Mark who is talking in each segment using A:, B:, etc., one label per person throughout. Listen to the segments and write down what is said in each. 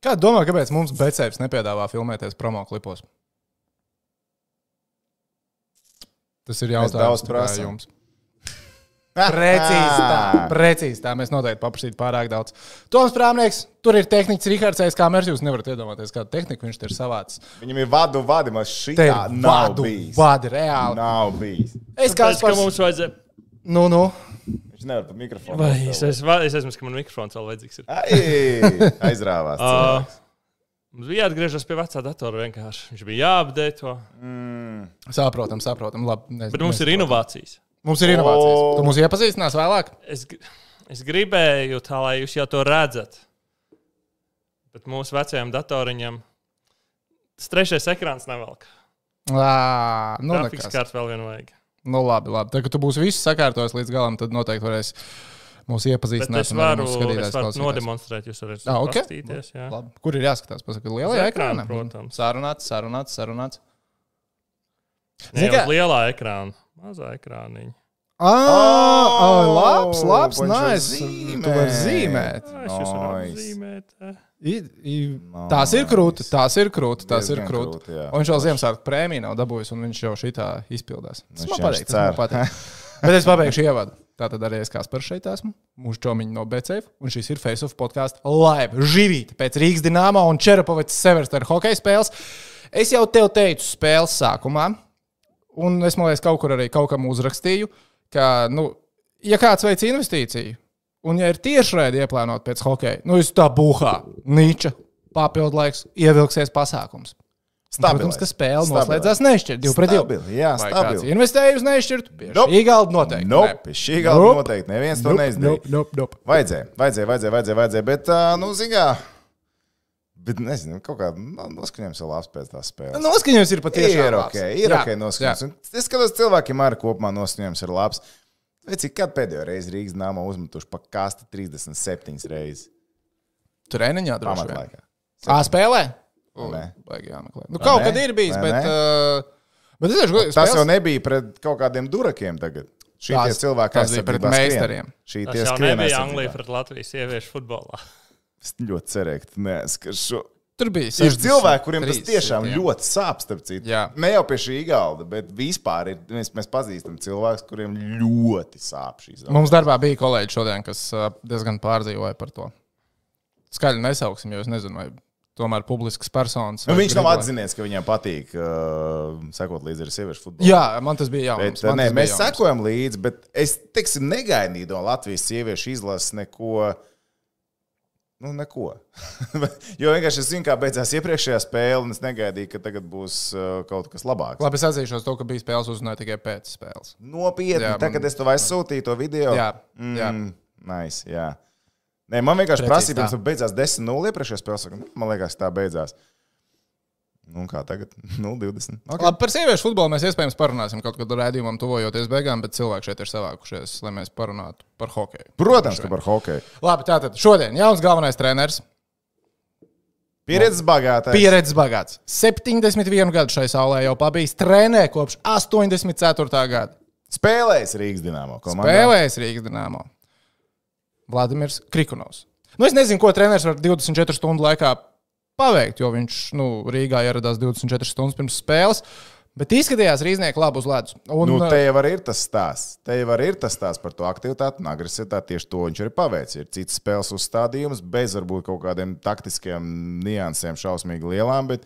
A: Kā domā, kāpēc mums Becēvis nepiedāvā filmēties promo klipos? Tas ir
B: Mēs
A: jautājums.
B: daudz
A: ne kā
B: prasām.
A: jums. Ah. Precīzi tā, precīzi tā. Mēs noteikti paprasītu pārāk daudz. Toms Prāmnieks, tur ir tehnikas Rihards Aizkāmers. Jūs nevarat iedomāties, kādu tehniku viņš te ir savācis.
B: Viņam ir vadu, vadu, man šī
A: Te ir
B: tā nav
A: vādu,
B: bijis.
A: vādi reāli.
B: Nav bijis.
A: Es kā
C: Kāpēc, ka
A: spēlēju.
C: mums vajadzēja?
A: Nu, nu.
B: Viņš nevar pat mikrofonu.
C: Vai
B: atstāt.
C: es, es, vai- es esmu, ka man mikrofons vēl vajadzīgs. ir.
B: Ai, aizrāvās.
A: Ah.
C: Ā,
B: cilvēks.
C: Mums bija jāatgriežas pie vecā datora vienkārši. Viņš bija jāapdēto.
B: Mm.
A: Saprotam, saprotam. Labi, ne,
C: Bet mums ir inovācijas.
A: mums ir inovācijas.
B: O.
A: Tu mūs iepazīstinās vēlāk.
C: Es, gr- es gribēju tā, lai jūs jau to redzat. Bet mūsu vecajam datoriņam tas trešais ekrāns nevelk.
A: Ā, nu,
C: Grafikas
A: nekas.
C: kārta vēl viena vajag.
A: Nu, labi, labi. Tad, kad tu būsi viss sakārtojis līdz galam, tad noteikti varēs mūs
C: Bet
A: iepazīstināt.
C: es varu, es varu nodemonstrēt, jūs varat
A: Ah, ok.
C: skatīties. jā.
A: Labi. Kur ir jāskatās? Pasaka, lielajā
C: Uz ekrāna,
A: ekrānā.
C: protams.
A: Sārunāts, sarunāts, sarunāts.
C: Nē,
A: Zini, kā-
C: uz lielā ekrāna, mazā ekrāniņa.
A: Ah, oh, labs, labs,
B: viņš var
A: nice.
B: zīmēt.
A: Tu vari zīmēt.
C: Ai, Es jūs varu
B: Nice.
C: apzīmēt. eh.
A: I, i, tās ir krūti, tās ir krūti, tās ir
B: Diezgan
A: krūti.
B: krūti, jā.
A: Un viņš jau Ziemassvētku prēmiju nav dabūjis, un viņš jau šitā izpildās. Tas
B: Nu,
A: man
B: šiem
A: patīk, tas man
B: cer.
A: patīk. Bet es pabeigšu ievadu. Tātad arī es kā par šeit esmu, mūsu čomiņš no BCF, un šis ir Face of podkāsts live, živīti pēc Rīgas dīnāmā un Čerapovicas Severstera hokeja spēles. Es jau tev teicu spēles sākumā, un es man liekas, kaut kur arī kaut kam uzrakstīju, ka, nu, ja kāds veic investīciju, un ja ir tiešraidi ieplānot pēc hokeja, nu, jūs tā buhā, niča, papildu laiks, ievilksies pasākums. Protams, ka spēle noslēdzās nešķirt, 2 pret 2.
B: Stabili, jā,
A: Vai kāds
B: stabili.
A: investēja uz nešķirtu?
B: Nope.
A: Īgaldi noteikti.
B: Nope,
A: nē.
B: šī gala
A: Nope.
B: nope. noteikti neviens nope. to neizdarīja. Nope.
A: Nope, nope, nope.
B: Vajadzēja, vajadzēja, vajadzēja, vajadzēja, vajadzēja bet, uh, nu, zingā, bet nezinu, kaut kā nu, no- noskaņojums ir labs pēc
A: Nu,
B: tās spēles.
A: Noskaņojums ir patiešām.
B: ir
A: labs.
B: ok, ir
A: Jā,
B: ok noskaņojums. Un Es skatos, cilvēkiem arī kopumā noskaņojums ir labs. Vai cik kad pēdējo reizi Rīgas nama uzmetuši pa kasti 37 reizes
A: jā. Treniņā droši vien.
B: pamatlaikā?
A: Ā, spēlē?
B: Nē.
A: Baigi jāmeklē. Nu, kaut
B: nē?
A: kad ir bijis,
B: Vai
A: bet.
B: nē?
A: ā, Bet es domāju,
B: Tas jau nebija pret kaut kādiem durakiem tagad. Šī
A: Tās-
B: tie cilvēki
A: tās bija pret
B: aizsardzībā skrien.
A: meistariem.
B: Šī
C: Tas
B: tie
C: jau
B: skrien
C: nebija
B: aizsardzībā.
C: Anglija pret Latvijas sieviešu futbolā.
B: Es ļoti cerēju, ka tu neatskat šo.
A: Tur bija.
B: Ir cilvēki, kuriem tas
A: 63
B: tiešām
A: jā.
B: ļoti sāp, starp citu.
A: Jā.
B: Ne jau pie šī galda, bet vispār ir, mēs, mēs pazīstam cilvēkus, kuriem ļoti sāp šīs zāles.
A: Mums darbā bija kolēģi šodien, kas ā, diezgan pārdzīvoja par to. Skaļi nesauksim, jo es nezinu, vai tomēr publisks personis.
B: Nu,
A: vai
B: viņš nav
A: gribētu-
B: atzinies, ka viņam patīk uh, sekot līdzi ar sieviešu futbolu.
A: Jā, man tas bija
B: Bet,
A: jautājums.
B: uh, nē, mēs sekojam līdzi, bet es teiksim, negaidīju no Latvijas sieviešu izlases neko. Nu, neko. jo vienkārši es zinu, kā beidzās iepriekšējā spēle, un es negaidīju, ka tagad būs uh, kaut kas labāks.
A: Labi, es atzīšos to, ka bija spēles uzrunāja tikai pēc spēles.
B: Nopietni,
A: Jā,
B: jā,
A: man-
B: tagad es tev aizsūtīju to video.
A: Jā, jā.
B: Oh. Mm, nice, jā. Nē, man vienkārši
A: Precīzi
B: prasīja, pirms
A: tā.
B: tam beidzās 10-0 iepriekšējā spēlē. Saku, nu, Man liekas, tā beidzās. Nu, un kā tagad? 0-20.
A: Okay. Labi, par sieviešu futbolu mēs iespējams parunāsim kaut kad raidījumam, tuvojoties beigām, bet cilvēki šeit ir savākušies, lai mēs parunātu par hokeju.
B: Protams, ka par hokeju.
A: Labi, tātad šodien jauns galvenais treneris,
B: Pieredzes bagātā.
A: pieredzes bagāts. 71 gadu šai saulē jau pabijis, trenē kopš 84. gada.
B: Spēlējis Rīgas dīnāmo komandā.
A: Spēlējis Rīgas dīnāmo. Vladimirs Krikunovs. Nu, es nezinu, ko treneris var 24 stundu laikā paveikt, jo viņš nu, Rīgā ieradās 24 stundas pirms spēles. Bet izskatījās Rīznieks labi uz ledus. Un,
B: Nu,
A: uh,
B: te jau arī ir tas stāsts. Te jau arī ir tas stāsts par to aktivitāti un agresivitāti. Tieši to viņš arī paveic. Ir cits spēles uzstādījums, bez varbūt kaut kādiem taktiskiem niansēm, šausmīgi lielām. Bet,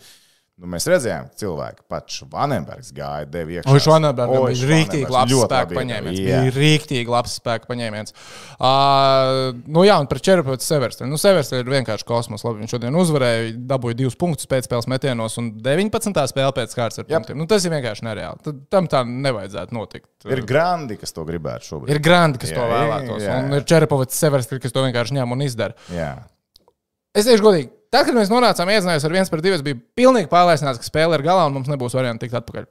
B: nu, mēs redzējām, ka cilvēki pat Švanenbergs gāja devu iekšā.
A: Oi, Švanenbergam bija rīktīgi
B: Švanenbergs
A: labs
B: ļoti
A: spēka
B: labi iedeva.
A: paņēmiens.
B: Jā.
A: Bija rīktīgi labs spēka paņēmiens. Uh, nu jā, un par Čerpēta Severstenu. Nu, Severstena ir vienkārši kosmos. Labi, viņš šodien uzvarēja, dabūja divus punktus pēcspēles metienos un 19. spēlē pēc kārtas ar punktiem. Nu, tas ir vienkārši nereāli. Tad, tam tā nevajadzētu notikt. Eh,
B: Ir grandi, kas to gribētu šobrīd.
A: Ir grandi, kas jā, to
B: Jā,
A: vēlētos. Jā, jā.
B: jā.
A: Un ir Čerpēta Severstena, kas to vienkārši ņem un izdara.
B: Jā.
A: Es teikšu godīgi, tad, kad mēs nonācām iezinājumos ar viens par diviem, bija pilnīgi pārliecināts, ka spēle ir galā un mums nebūs variantu tikt atpakaļ.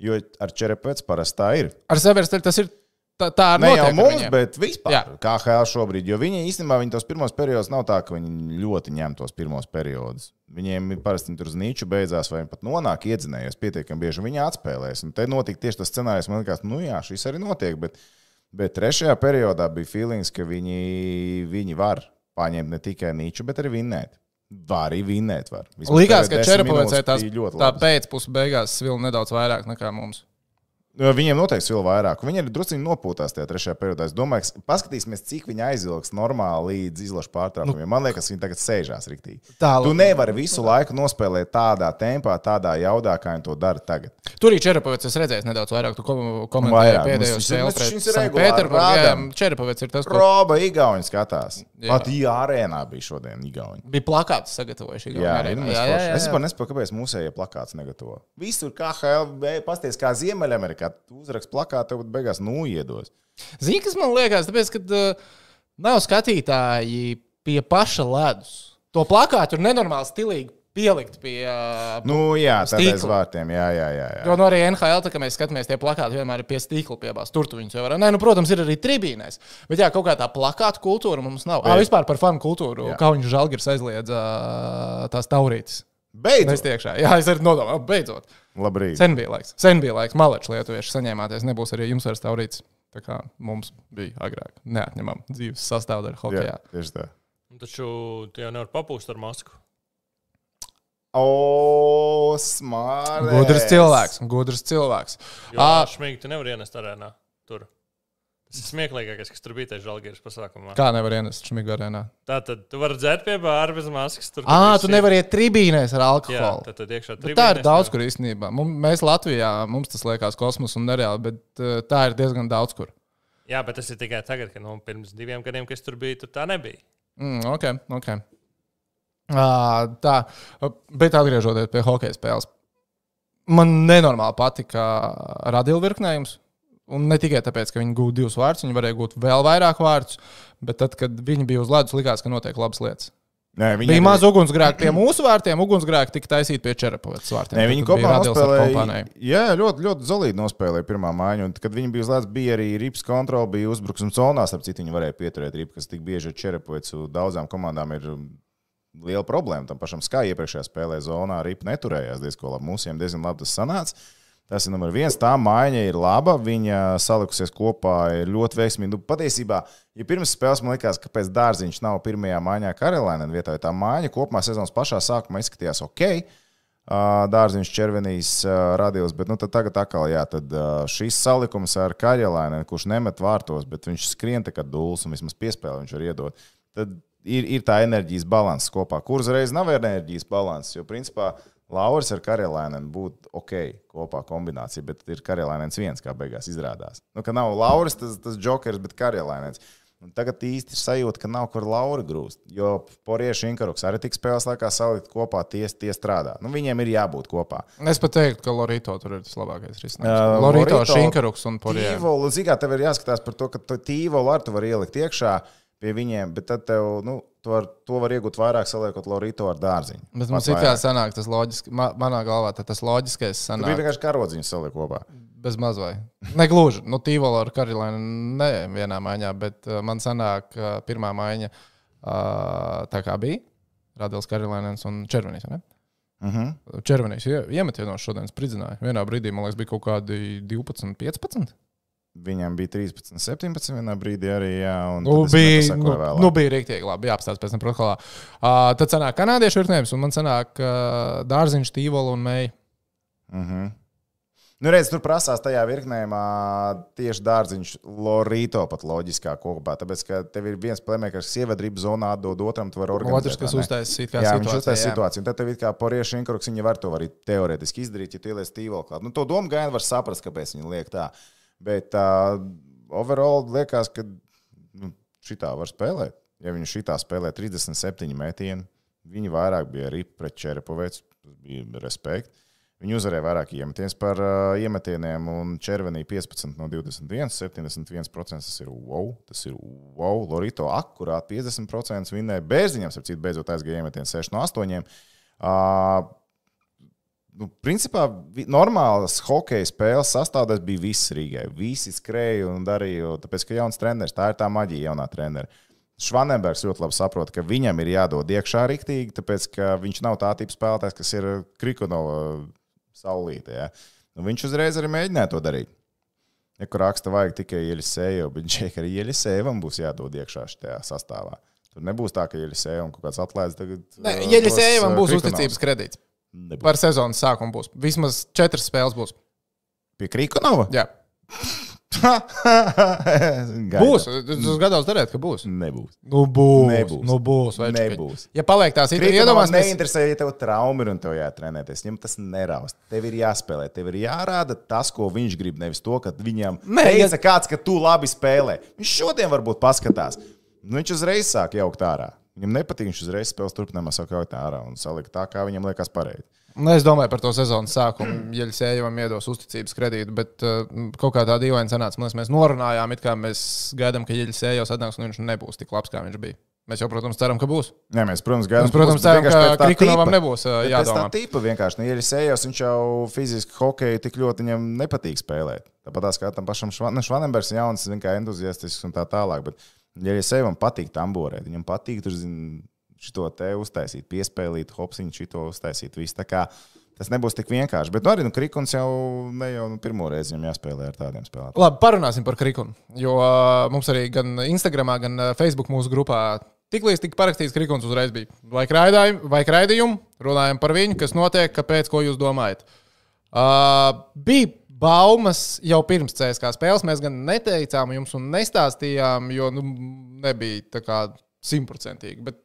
B: Jo ar Čerepēcu parasti tā ir.
A: Ar Severstenu tas ir tā, tā ar
B: Ne jau
A: notiek ar
B: mums,
A: viņiem.
B: bet vispār.
A: Jā.
B: Jā. Kā HL šobrīd, jo viņi īstenībā viņi tos pirmos periodus nav tā, ka viņi ļoti ņem tos pirmos periodus. Viņiem ir parasti tur zīmīču beidzās, vai viņi pat nonāk iedzinējies pietiekami bieži, un viņi atspēlēs. Un te notika tieši tas scenārijs, man liekas, nu jā, šis arī notiek. Bet, bet trešajā periodā bija feelings, ka viņi, viņi var paņemt ne tikai nīču, bet arī vinnēt. Var arī vinnēt. Var. Vismaz
A: Likās,
B: pēdējā
A: ka
B: desmit minūtes
A: Černiņš tās
B: bija ļoti
A: tā
B: labas.
A: pēcpusē beigās svilna nedaudz vairāk nekā mums.
B: Jo Nu, Viņiem noteikti vēl vairāk. Viņi ir druskuļi nopūtās tajā trešajā periodā. Es domāju, ka paskatīsimies, cik viņi aizilgs normāli līdz izlaša pārtraukumiem. Man liekas, viņi tagad sēžās riktīgi.
A: Tālu.
B: Tu nevari visu laiku nospēlēt tādā tempā, tādā jaudā, kā viņi to dara tagad.
A: Tur arī Černiņš es redzēju, nedaudz vairāk tu kom- komentēji
B: Vairāk.
A: pēdējo
B: Mums-
A: spēli.
B: mēs
A: pret
B: šīs ir
A: Sankt
B: regulāri
A: Pēterburgu.
B: rādām.
A: Černiņš ir tas, kurš
B: Proba Igauni skatās.
A: Jā.
B: Pat jā, arēnā bija šodien Igauni.
A: bija plakāts sagatavojuši.
B: Jā, jā, jā, jā, jā. Es pat nesaprotu, kāpēc mūsējie plakāts negatavo. Visur KHL, pasties, kā Ziemeļamerikā, tu uzrakst plakātu, tev beigās nu iedos.
A: Zini, kas man liekas, tāpēc, ka uh, nav skatītāji pie paša ledus. To plakātu ir nenormāli stilīgi pielikt pie. Uh,
B: Nu, jā, tādā aiz
A: Stīkla.
B: vārtiem. Jā, jā, jā. jā.
A: Jo no arī NHL, tā, kad mēs skatāmies, tie plakāti vienmēr ir pie stīkla piebāzti. Tur tu viņus jau var. Nē, nu, protams, ir arī tribīnēs. Bet jā, kaut kā tā plakāta kultūra mums nav. Ah,
B: Bet-
A: vispār par fanu kultūru.
B: Jā.
A: Kā viņš žēlgars aizliedz uh, tās taurītes. Mēs
B: Beidzot,
A: tiekšā. Jā, es arī nodomāju, beidzot.
B: labrīt.
A: Sen bija laiks. Sen bija laiks. Malečs lietuvieši saņēmāties. Nebūs arī jums vairs taurītes. Tā kā mums bija agrāk. Neatņemam dzīves sastāvdaļa
B: Jā,
A: hokeja.
B: tieši tā.
C: Un Taču tu jau nevari papūst ar masku.
B: O, smārts.
A: Gudrs cilvēks, gudrs cilvēks.
C: Jo
A: Ā.
C: šmīgi tu nevari ienest arēnā. Tur. Tas ir smieklīgākais, kas tur bija tajā žēlgājas pasākumā.
A: Kā nevar ienest šmigā arēnā?
C: Tā tad tu vari dzert pie bāra bez maskas. Tur,
A: Ā,
C: kur
A: tu
C: visi-
A: nevari iet tribīnēs ar
C: Jā,
A: alkoholu.
C: tad, tad iekšā
A: Bet tā ir
C: tribīnēs
A: daudz
C: tev-
A: kur īstenībā. Mums, mēs Latvijā mums tas liekas kosmos un nereāli, bet uh, tā ir diezgan daudz kur.
C: Jā, bet tas ir tikai tagad, kad nu, pirms diviem gadiem, kas tur bija, tur tā nebija.
A: Mm, ok, ok. Uh, tā, Uh, bet atgriežoties pie hokeja spēles, man nenormāli patika radījuma virknējums. Un ne tikai tāpēc, ka viņi gūta divus vārdus, viņi varēja gūt vēl vairāk vārdus, bet tad, kad viņi bija uz ledus, likās, ka notiek labas lietas.
B: Nē,
A: Viņa bija
B: arī-
A: maz ugunsgrēki pie mūsu vārtiem, ugunsgrēki tika taisīti pie Čerapovas vārtiem.
B: Nē,
A: Tad
B: viņi
A: tur bija
B: kopā
A: Radils ar
B: nospēlēja.
A: kompāniju.
B: Jā, ļoti, ļoti zelīgi nospēlēja pirmā mājiņa. Un, kad viņi bija uzlēts, bija arī rips kontrole, bija uzbrukums zonā. Starp citu, viņi varēja pieturēt ripu, kas tik bieži ir čerepojas. Daudzām komandām ir um, liela problēma. Tam pašam Skai iepriekšējā spēlē zonā ripu neturējās diezgan labi. Mūsiem diezgan labi tas sanāca. Tas ir numurs viens. Tā mājiņa ir laba. Viņa salikusies kopā, ir ļoti veiksmīga. Nu, patiesībā, ja pirms spēles man liekas, ka pēc dārziņš nav pirmajā mājiņā Karolēna vietā, jo tā mājiņa kopumā sezonas pašā sākumā izskatījās ok. Ā, Dārziņš, Červenīs, Radījus. Bet nu, tad tagad atkal jā, tad, ā, šis salikums ar Kaļelēnu, kurš nemet vārtos, bet viņš skrien tā kā dūls un vismaz piespēli viņš var iedot. Tad ir, ir tā enerģijas balanss kopā, kur uzreiz nav enerģijas balanss. Jo principā Lauris ar Kaļelēnu būtu ok kopā kombinācija, bet ir Kaļelēns viens, kā beigās izrādās. Nu, ka nav Lauris tas, tas jokers, bet Kaļelēns. Un tagad īsti ir sajūta, ka nav kur laura grūst. Jo poriešu inkaruks arī tik spēlēs laikā salikt kopā, tie, tie strādā. Nu, viņiem ir jābūt kopā.
A: Es pat teiktu, ka Lorito tur ir tas labākais risinājums.
B: Ā,
A: Uh, Lorito,
B: Lorito,
A: Šinkaruks un Porija.
B: Tīvolu, zikā, tev ir jāskatās par to, ka to tīvolu ar tu vari ielikt iekšā pie viņiem, bet tad tev, nu, to, ar, to var iegūt vairāk saliekot laurīto ar dārziņu.
A: Bet mums ir kā sanāk, tas loģiski, ma manā galvā tad tas loģiskais
B: Tu
A: sanāk.
B: biji vienkārši karodziņu saliek kopā.
A: Bez mazvai. Negluži. Nu, Tīvola ar Karolīnu ne vienā maiņā, bet uh, man sanāk, uh, pirmā maiņa uh, tā kā bija. Radījis Karolīns un Červenīs. vai ne?
B: Uh -huh.
A: Červenīs ie- iemetīja no šodienas spridzināja. Vienā brīdī, man liekas, bija kaut kādi 12, 15.
B: Viņam bija 13, 17 vienā brīdī arī, jā, un
A: Nu,
B: tad es metu
A: bija,
B: sekoju
A: nu,
B: vēlāk.
A: nu, bija rīktīgi labi. Jā, apstāties pēc tam protokolā. Uh, tad sanāk kanādiešu virknēms, un man sanāk uh, dārziņš, tīvola un meija.
B: Mhm. Nu, redz, tur prasās tajā virknējumā tieši dārziņš, Lorito pat loģiskā kopā. Tāpēc, ka tev ir viens plēmēkars, kas ievada ribu zonā, dod otram, tu vari organizēt.
A: Nu, Otrs, kas
B: vai ne?
A: uztaisīja
B: Jā, viņš
A: situāciju.
B: uztaisīja situāciju. un Tad tev ir kā poriešu inkurks, viņa var to arī teorētiski izdarīt, ja tu ieliec tīvolu klāt. Nu, to domu gājienu var saprast, kāpēc viņi liek tā. Bet uh, overall liekas, ka nu, šitā var spēlēt. Ja viņi šitā spēlē 37 metienu, viņi vairāk bija arī pret Čerepovēcu. Tas bija respekt. Viņi uzvarēja vairāk iemetienus par uh, iemetieniem, un Červenī 15 no 21, 71%. Tas ir wow, tas ir wow. Lorito akurāti 50% vinnēja Bērziņam, ap citu beidzot aizgāja iemetienu 6 no 8. Uh, nu, principā vi- normālas hokeja spēles sastāvdaļas bija viss Rīgai. Visi skrēja un darīja, tāpēc ka jauns treneris, tā ir tā maģija, jaunā trenera. Švanenbergs ļoti labi saprot, ka viņam ir jādod iekšā rīktīgi, tāpēc ka viņš nav tā tipa spēlētājs, kas ir Krikunova saulītē. Ja? Nu, viņš uzreiz arī mēģināja to darīt. Ja kur raksta, vajag tikai ielisēju, bet Džekai arī ielisēju būs jādod iekšā šajā sastāvā. Tur nebūs tā, ka Jeļisēja un kaut kāds atlaists tagad.
A: Nē,
B: eh,
A: ja
B: dos,
A: Lisēvam
B: eh,
A: būs
B: Krikonovs.
A: uzticības kredīts
B: Nebūs.
A: par sezonas sākumu, būs vismaz četras spēles. Būs.
B: Pie Krikonovas?
A: Jā, būs.
B: būs.
A: Es uz gados darētu, ka būs.
B: Nebūs.
A: Nu, būs.
B: Mm. Nebūs.
A: Nu, būs. vai čukaļ.
B: Nebūs.
A: Ja paliek tās idejas,
B: Krikonovas
A: iedomāsimies,
B: neinteresē, ja tev trauma ir un tev jātrenēties. Viņam tas neraust. Tev ir jāspēlē, tev ir jārāda tas, ko viņš grib. Nevis to, ka viņam
A: Nē,
B: teica kāds, ka tu labi spēlē. Viņš šodien varbūt paskatās. Nu, viņš uzreiz sāk jaukt ārā. Viņam nepatīk, viņš uzreiz spēles turpinājumā sāk jaukt ārā un salikt tā, kā viņam liekas pareizi.
A: Nu, es domāju par to sezonas
B: Mm.
A: sākumu. Ja Lisēvam iedos uzticības kredītu, bet uh, kaut kā tā dīvaini sanāca. Man liekas, mēs norunājām, it kā mēs gaidām, ka Jeļisējos atnāks un viņš nebūs tik labs, kā viņš bija. Mēs jau, protams, ceram, ka būs.
B: Nē, mēs, protams, gaidām.
A: Mēs, protams, ceram, ka Krikonovam nebūs, ā,
B: jādomā.
A: jādomā.
B: Tā tipa vienkārši, nu, ja ir sējos, viņš jau fiziski hokeju tik ļoti viņam nepatīk spēlēt. Tāpat tās kā tam pašam Švan- nu, Švanenbergs, jauns, zin, kā entuziastisks un tā tālāk. Bet, ja ir sējam patīk tamborēt, viņam patīk tur, zin, šito te uztaisīt, piespēlīt, hopsiņu, šito uztaisīt, visu tā kā. Tas nebūs tik vienkārši. Bet nu, arī nu, Krikons jau ne jau nu, pirmo reizi viņam jāspēlē ar tādiem spēlētājiem.
A: Labi, parunāsim par Krikunu. Jo ā, mums arī gan Instagram, gan ā, Facebook mūsu grupā tiklīdz tika parakstīts Krikuns uzreiz bija. Vai raidījumi, vai raidījumi, runājam par viņu, kas notiek, kāpēc, ko jūs domājat. Uh, bija baumas jau pirms CSK spēles. Mēs gan neteicām jums un nestāstījām, jo nu, nebija tā kā simtprocentīgi. bet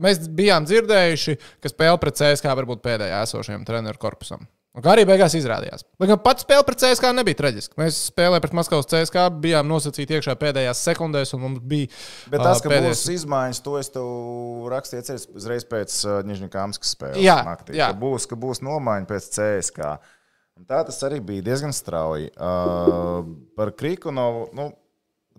A: Mēs bijām dzirdējuši, ka spēle pret CSK var būt pēdējā esošajam treneru korpusam. Un kā arī beigās izrādījās. Lai gan pats spēle pret CSK nebija traģiska. Mēs spēlējām pret Maskavas CSK, bijām nosacīti iekšā pēdējās sekundēs, un mums bija.
B: Bet
A: ā,
B: tas, ka
A: pēdējais-
B: būs izmaiņas, to es tev rakstīju atceries uzreiz pēc Nīžņakāmas spēles.
A: Jā,
B: naktī,
A: jā.
B: Ka būs, ka būs nomaiņa pēc CSK. Un tā tas arī bija diezgan strauji. Uh, par Krikunovu, nu,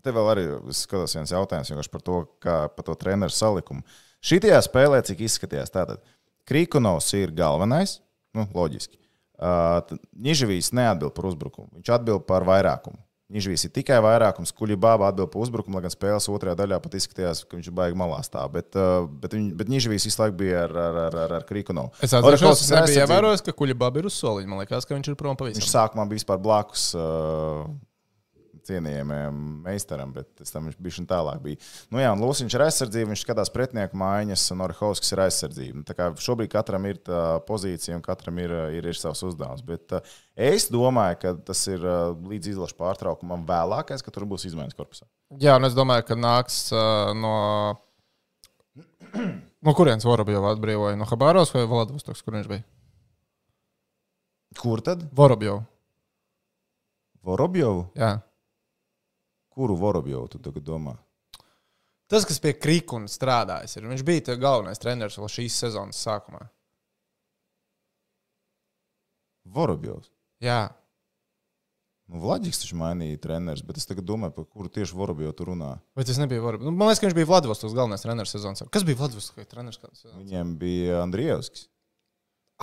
B: te vēl arī es skatos viens jautājums vienkārši par to, kā par to treneru salikumu. Šitajā spēlē, cik izskatījās, tātad Krikunovs ir galvenais, nu, loģiski. Uh, Nižavīs neatbild par uzbrukumu, viņš atbild par vairākumu. Nižavīs ir tikai vairākums, kuģibāba atbild par uzbrukumu, lai gan spēles otrajā daļā pat izskatījās, ka viņš ir baigi malā stāv. Bet, uh, bet, viņ, bet Nižavīs visu laiku bija ar, ar, ar, ar, ar Krikunovu.
A: Es atceros,
B: Orakovs
A: ka nebija
B: aizsardzība.
A: ievērojis, ka kuģibaba ir uz soliņa. Man liekas, ka viņš ir prom pavisam.
B: Viņš sākumā bija vispār blakus uh, cienījamajam meistaram, bet pēc tam viņš bija šim tālāk. Bija. Nu, jā, un Lūsis ir aizsardzība, viņš skatās pretinieku mājiņas, un Orhovskis ir aizsardzība. Nu, tā kā šobrīd katram ir tā pozīcija, un katram ir, uh, ir, ir savs uzdevums. Bet uh, es domāju, ka tas ir uh, līdz izlaša pārtraukumam vēlākais, ka tur būs izmaiņas korpusā.
A: Jā, un es domāju, ka nāks uh, no. No kurienes Vorobjovs atbrīvoja? No Habāros vai Vladivostoks, kur viņš bija?
B: Kur tad?
A: Vorobjovs.
B: Vorobjovu?
A: Jā.
B: Kuru Vorobjovu tu tagad domā?
A: Tas, kas pie Krikuna strādājas, ir viņš bija te galvenais treneris vēl šīs sezonas sākumā.
B: Vorobjovs.
A: Jā,
B: Nu, Vladiks taču mainīja treneris, bet es tagad domāju, par kuru tieši Vorobjovu tu runā.
A: vai tas nebija varbūt? Nu, man liekas, ka viņš bija Vladivostovs galvenais treneris sezonas sākumā. Kas bija Vladivostovs treneris?
B: Viņiem bija Andrievskis.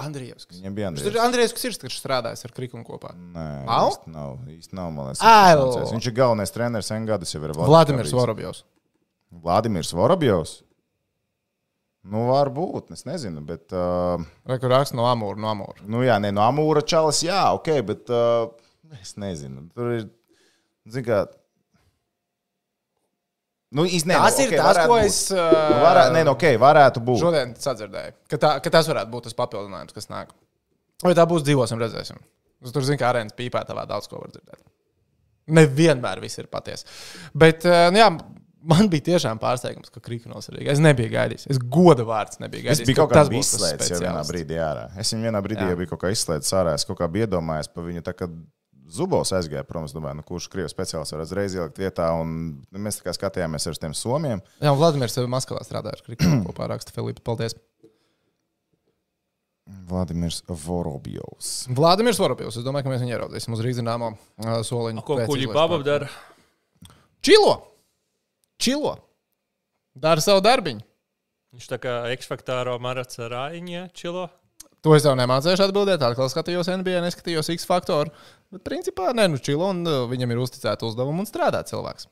A: Andrijevs.
B: Viņam bija
A: Viņš ir
B: Andrievskis.
A: Andrijevs, kas ir kas strādājis ar Krikunu kopā.
B: Nē,
A: Nav?
B: īsti nav. Īsti nav man liekas,
A: Ai,
B: viņš
A: lo.
B: nācējs. viņš ir galvenais treneris Engadus.
A: Vladimirs Vorobjovs.
B: Vladimirs Vorobjovs. Nu, varbūt, es nezinu, bet. Uh,
A: Vai kur raksts no Amūra? No Amūra.
B: nu, jā, nē, no Amūra čalas, jā, ok, bet. Uh, es nezinu. Tur ir. Zini, kā. Nu, īsti, nē, nu,
A: Tas ir
B: okei,
A: tas,
B: varētu
A: ko
B: būt.
A: es,
B: Nu, varē, nē, nu, ok, varētu būt.
A: Šodien sadzirdēju, ka, tā, ka tas varētu būt tas papildinājums, kas nāk. Vai tā būs, dzīvosim, redzēsim. Es tur zinu, ka arēnas pīpē tavā daudz ko var dzirdēt. Nevienmēr viss ir patiesa. Bet, eh, nu jā, man bija tiešām pārsteigums, ka Krikons ir. Es nebiju gaidījis. Es goda vārds nebiju
B: Es
A: gaidījis.
B: biju
A: ka
B: kaut kādā
A: būs tas
B: izslēdzis jau vienā
A: speciālists.
B: brīdī ārā. Es viņu vienā brīdī
A: Jā.
B: jau biju kaut kā izslēdzis ārā. Es kaut kā biju iedomājies par viņu. tā kā Zubovs aizgāja prom, es domāju, nu, kurš krievis speciālists var uzreiz ielikt vietā. Un nu, mēs tā kā skatījāmies ar tiem somiem.
A: Jā, un Vladimirs jau Maskavā strādāja ar Krikonu kopā raksta Filipa. Paldies.
B: Vladimirs Vorobjovs.
A: Vladimirs Vorapils. Es domāju, ka mēs viņu ieraudzīsim uz Rīgas zināmo eh, soliņu.
C: Ko
A: pēc
C: kuģibaba
A: izlases.
C: dara?
A: Čilo! Čilo! Dara savu darbiņu!
C: Viņš tā kā eksfaktāro marats ar rāņiem čilo.
A: To es jau nemācīju atbildēt. Atkal skatījos NBA, neskatījos X faktoru. Bet, principā, nē, nu, čilo un uh, viņam ir uzticēta uzdevuma un strādā cilvēks.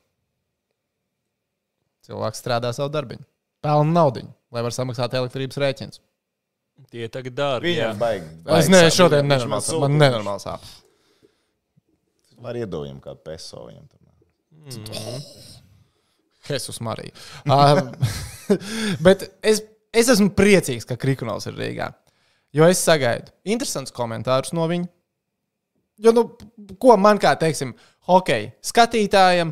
A: Cilvēks strādā savu darbu, pelna naudu, lai varētu samaksāt elektrības rēķinus.
C: Tie tagad dara.
B: Viņam
C: Viņam
B: baigi.
A: Es
B: baigi
A: ne,
B: sāp.
A: šodien
B: Viņš man
A: nenormāli sāp.
B: sūta.
A: Man nenormāli sāp.
B: Var iedomāties kādu
C: Mm.
B: peso viņam. tur.
A: Jesus, Marija. Uh, Bet es, es esmu priecīgs, ka Krikunovs ir Rīgā. Jo es sagaidu interesants komentārus no viņa. Jo, nu, ko man kā teiksim, hockey skatītājam,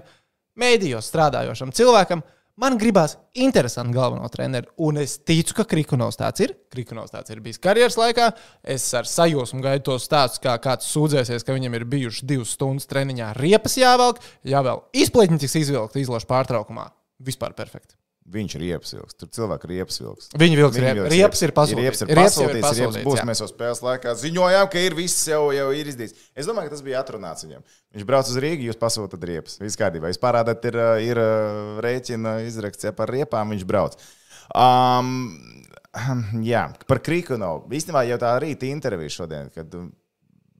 A: mēdījos strādājošam cilvēkam, man gribās interesantu galveno treneru. Un es ticu, ka Krikunovs tāds ir. Krikunovs tāds ir bijis karjeras laikā. Es ar sajūsmu gaidu tos stāstus, kā kāds sūdzēsies, ka viņam ir bijuši divas stundas treniņā riepas jāvelk, ja vēl izplēķņķis izvilkt izlošu pārtraukumā. Vispār perfekti.
B: Viņš ir iepsilgs. Tur cilvēks ir iepsilgs.
A: Viņi vilks riepas. Riepas ir pasūtīts.
B: Riepas
A: Riepas jau
B: ir
A: ir
B: pasūtīts. Riepas
A: pasūtīts,
B: būs.
A: jā.
B: Mēs jau spēles laikā ziņojām, ka ir viss jau, jau ir izdarīts. Es domāju, ka tas bija atrunāts viņam. Viņš brauc uz Rīgā, jūs pasūtāt riepas. Viss kārtībā. Jūs parādāt, ir, uh, ir uh, rēķina izraksts ja par riepām. Viņš brauc. Um, jā, par Krikunovu. Īstenībā jau tā rīta intervija šodien, kad um,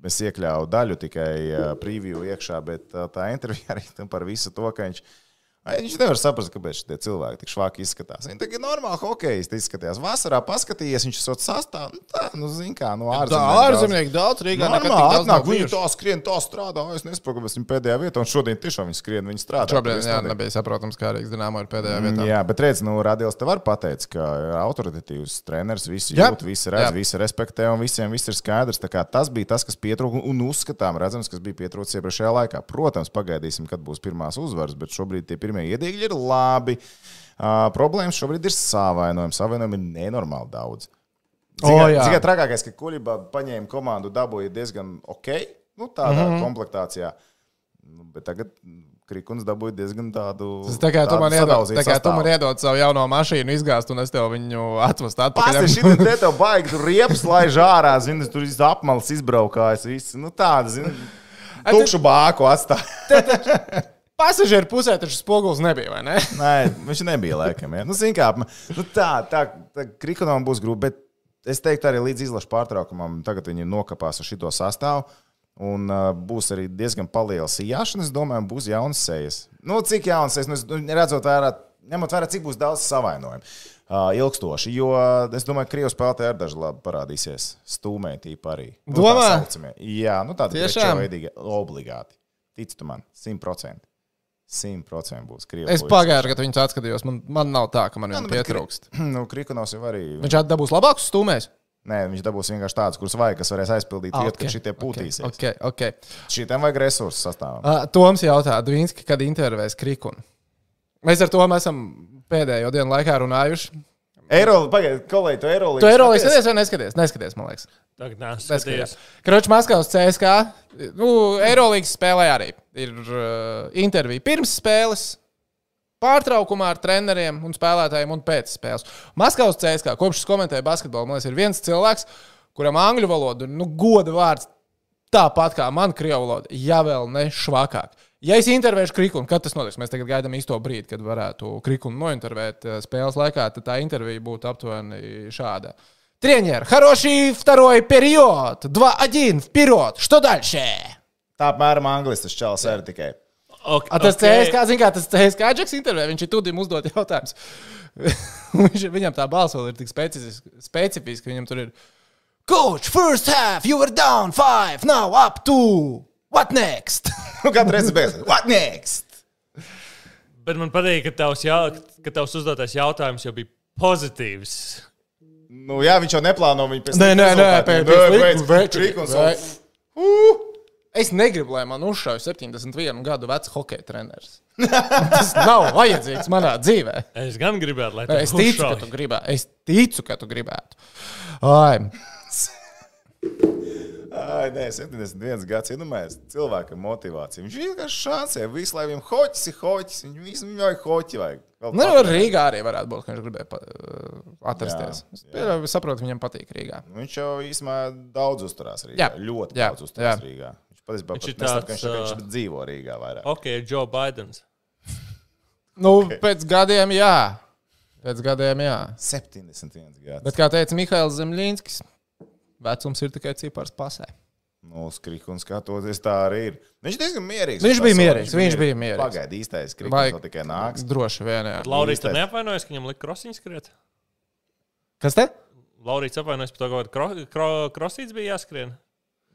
B: es iekļāvu daļu tikai uh, preview iekšā, bet uh, tā intervija arī tam par visu to, ka viņš. Ai, Viņš nevar saprast, kāpēc šie cilvēki tik švāki izskatās. Viņi tagad normāli hokejisti izskatās. Vasarā paskatījies, viņš esot sastāvā. Nu, tā, nu, zin kā, no
A: Tā
B: ārzemēs.
A: ārzemnieki daudz Rīgā. nekad tik
B: Normāli,
A: daudz nav
B: atnāk, viņi
A: bijuši.
B: tā skrien, tā strādā. Es nesaprotu, kāpēc viņi pēdējā vietā, un šodien tiešām viņi skrien, viņi strādā. Tur
A: Šobrīd
B: viss
A: jā, nu,
B: notiek.
A: nebija saprotams, kā Rīgas dīnāma ir pēdējā
B: Mm,
A: vietā.
B: Jā, bet redziet, nu, Radījis te var pateikt, ka ir autoritatīvs treneris, visi
A: Jā.
B: jūt, visi redz,
A: Jā.
B: visi respektē un visiem viss ir skaidrs. Tā kā Tas bija tas, kas pietrūka un uzskatām, redzams, kas bija pietrūcis iepriekšējā laikā. Protams, pagaidīsim, kad būs pirmās uzvaras, bet šobrīd tie pirmie iedīgļi ir labi. Uh, problēmas šobrīd ir savainojumi. Savainojumi ir nenormāli daudz.
A: O, jā.
B: Tikai trakākais, ka Kuļba paņēma komandu, dabūja diezgan ok, nu, tādā
A: Mhm.
B: mm -hmm. komplektācijā. Nu, bet tagad Krikuns dabūja diezgan tādu.
A: Tas tā kā tu
B: tādu
A: man iedod,
B: sadauzītu
A: tā kā tu
B: sastāvu.
A: man iedod savu jauno mašīnu, izgāzt, un es tev viņu atvestu atpakaļ.
B: Pats šī te tev baigi, tur riepas laiž ārā, zini, tur viss apmals izbraukājas, viss, nu tāda, zini, tukšu bāku atstāja.
A: Pasažieru pusē taču spogulis nebija, vai ne?
B: Nē, viņš nebija laikam, jā. Nu, zini, kā, apma- nu tā, tā, tā krikonam būs grūti, bet es teiktu arī līdz izlašu pārtraukumam, tagad viņi nokapās ar šito sastāvu. Un uh, būs arī diezgan liela sijāšana. Es domāju, būs jauns sejas. Nu, cik jauns sejas? Nu, es- nu, redzot, vērā, ņemot vērā, cik būs daudz savainojumu. Uh, ilgstoši, jo uh, es domāju, ka krievu spēlētāji arī daži labi parādīsies. Stūmētība arī. Nu, tā
A: Domā?
B: saucamie. Jā, nu tāda
A: Tiešām?
B: veidīga obligāti. Tici tu man, 100%. 100% būs krievu.
A: Es pagājušajā gadā viņus atskatījos. Man, man nav tā, ka man
B: nu,
A: viņu
B: bet
A: pietrūkst.
B: Nu, Krikonos jau arī
A: Viņš atdabūs labākus stūmēs.
B: Nē, viņš dabūs vienkārši tāds, kurš vajag, kas varēs aizpildīt
A: Ah,
B: vietu, okay,
A: ok,
B: kad šitie pūtīsies. Okay,
A: Okay, okay.
B: okay. Šitiem vajag resursu sastāvam.
A: Uh, Toms jautā, Dvīnski, kad intervēs Krikunu. Mēs ar to esam pēdējo dienu laikā runājuši.
B: Eiroli, pagaidi, kolēģi, tu Eiroli.
A: Tu Eiropas skaties vai neskaties? Neskaties, man liekas.
C: Tagad nē,
A: Neskaties.
C: skaties.
A: Kroča Maskavas CSK. Nu, Eirolandes spēlē arī ir uh, intervija pirms spēles. Pārtraukumā ar treneriem un spēlētājiem un pēc spēles. Maskavas CSK kopš es komentēju basketbolu, man liekas, ir viens cilvēks, kuram angļu valoda, nu, goda vārds, tāpat kā man, krievu valoda, ja vēl ne švakāk. Ja es intervēšu krikunu, kad tas notiks, mēs tagad gaidām īsto brīdi, kad varētu krikunu nointervēt eh, spēles laikā, tad tā intervija būtu aptuveni šāda. Тренер, хороший второй период. 2-1, вперед. Что дальше?
B: Tā apmēram anglis tas čels ir tikai.
C: Ok,
A: A, tas
C: ok.
A: okay. CSK, zin kā tas CSK Džeks intervijā, viņš ir tudim uzdot jautājums. Viņš- viņam tā balss vēl ir tik specifiska, specifiska, viņam tur ir. Coach, first half, you were down 5, now up 2. What next?
B: Nu, katru reizi beigās. What next?
C: Bet man patīk, ka tavs, jā, ka tavs uzdotais jautājums jau bija pozitīvs.
B: Nu, jā, viņš jau neplāno viņu pēc Nu,
A: Nē, nē, nē, pēc- pēc
B: pēc
A: likuma veču-
B: Krikons.
A: Es negribu, lai man uzšauj 71 gadu vecs hockey treneris. Tas nav vajadzīgs manā dzīvē.
C: Es gan gribētu, lai
A: Nē,
C: tas
A: Es ticu, ka tu gribētu. Es ticu, ka tu gribētu. Ai,
B: Ai, nē, 71 gads nu iedomājies cilvēkam motivāciju. Viņš vienkārši šācē, visu lai viņam hoķis ir hoķis, viņam visu vajag hoķi vajag. Vēl
A: nu,
B: papildus.
A: Rīgā arī varētu būt, ka viņš gribēja pa, atrasties.
B: Jā,
A: Jā, jā. Es saprotu, viņam patīk Rīgā.
B: Nu, Viņš jau īsumā daudz uzturās Rīgā. Jā,
A: Jā.
B: ļoti jā,
A: Jā.
B: daudz uzturās jā.
A: Jā.
B: Rīgā. Viņš patiesībā
C: Viņš
B: pat
C: ir
B: nesaka, ka
C: tāds,
B: viņš, saka, ka
C: ā,
B: viņš dzīvo Rīgā vairāk.
C: Ok, ir Joe Bidenis.
A: Nu, okay. pēc gadiem, jā. Pēc gadiem, jā.
B: 71 gadi.
A: Bet, kā teica Mihails Zemļinskis, vecums ir tikai cipars pasē.
B: Nu, uz krikuna skatoties, tā arī ir. Viņš diezgan mierīgs.
A: Viņš
B: uz
A: bija
B: pasauli,
A: mierīgs, viņš bija mierīgs.
B: Pagaidi, īstais
A: Vai-
B: krikuna tikai nāks.
A: Droši vien, jā.
C: Laurīts
B: Īstais.
C: tam neapvainojas, ka viņam lika krosiņš skriet.
A: Kas te?
C: Laurīts apvainojas par to, ka kro, kro, krosīts bija jāskrien.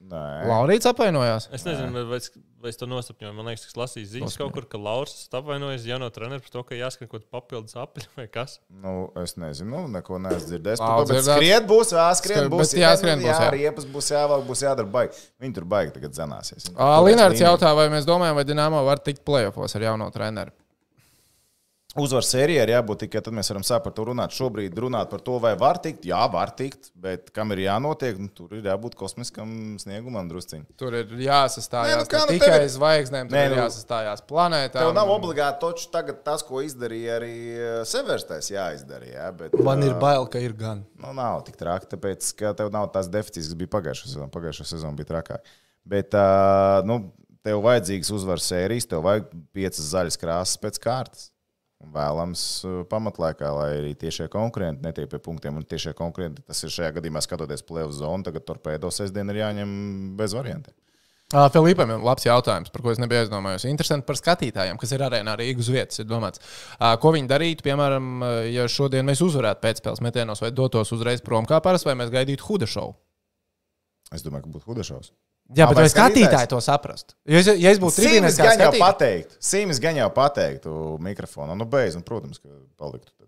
B: Nē,
A: Laurīts apvainojās.
C: Es nezinu, vai, es- vai es to nosapņoju. Man liekas, es lasīju ziņas
A: Nosapņoju.
C: kaut kur, ka Lauris apvainojas jauno treneru par to, ka jāskan kaut kāda papildus apļa vai kas.
B: nu, es nezinu, neko neesmu dzirdējis.
A: Labi,
B: Par to, bet
A: dzirdēts.
B: skriet būs, jāskrien
A: Skri-
B: būs,
A: bet jāskrien būs, jā.
B: jā, riepas būs jāvelk, būs jādara baigi. Viņi tur baigi tagad zanāsies.
A: Linārds jautā, vai mēs domājam, vai Dienāmo var tikt plēsofos ar jauno treneru.
B: Uzvaru sērijā ir jābūt tikai tad, mēs varam sākt par to runāt. Šobrīd runāt par to, vai var tikt. Jā, var tikt, bet kam ir jānotiek, nu, tur ir jābūt kosmiskam sniegumam drusciņā.
A: Tur ir jāsastājās
B: Nē, nu kā
A: ne
B: nu
A: tikai
B: tev ir-
A: zvaigznēm, tur
B: Nē,
A: ir
B: nu-
A: jāsastājās planētā.
B: Tev nav obligāti točs tagad tas, ko izdarīja arī eh, Severstais, jāizdara. Jā, bet,
A: Man ir
B: eh,
A: bail, ka ir gan.
B: Nu, nav tik traki, tāpēc, ka tev nav tās deficīts, kas bija pagājušā sezonā. Pagājušā sezona bija trakāk. Bet, ā, nu, tev vajadzīgs uzvaras sērijas, tev vajag piecas zaļas krāsas pēc kārtas. Un Vēlams ā, pamatlaikā, lai arī tiešie konkurenti netiek pie punktiem. Un tiešie konkurenti, tas ir šajā gadījumā skatoties plēvu zonu, tagad torpēdo sestdien ir jāņem bez variantiem.
A: Ā, Filipam ir labs jautājums, par ko es nebiju aizdomājies. Interesanti par skatītājiem, kas ir arēnā Rīgas uz vietas. ir domāts. Ā, Ko viņi darītu, piemēram, ja šodien mēs uzvarētu pēcspēles metienos vai dotos uzreiz prom kā parasti, vai mēs gaidītu huda šovu?
B: Es domāju, ka būtu hudašaus.
A: Jā,
B: Ā,
A: bet
B: vai
A: vai skatītāji
B: skatītājs?
A: to saprast? Ja es, ja es būtu trījus,
B: Sīmis
A: Nu, kā
B: gan jau
A: skatītājs,
B: pateiktu, Sīmis gan jau pateiktu mikrofonu. Nu, beidz, un, protams, ka paliktu. Tad.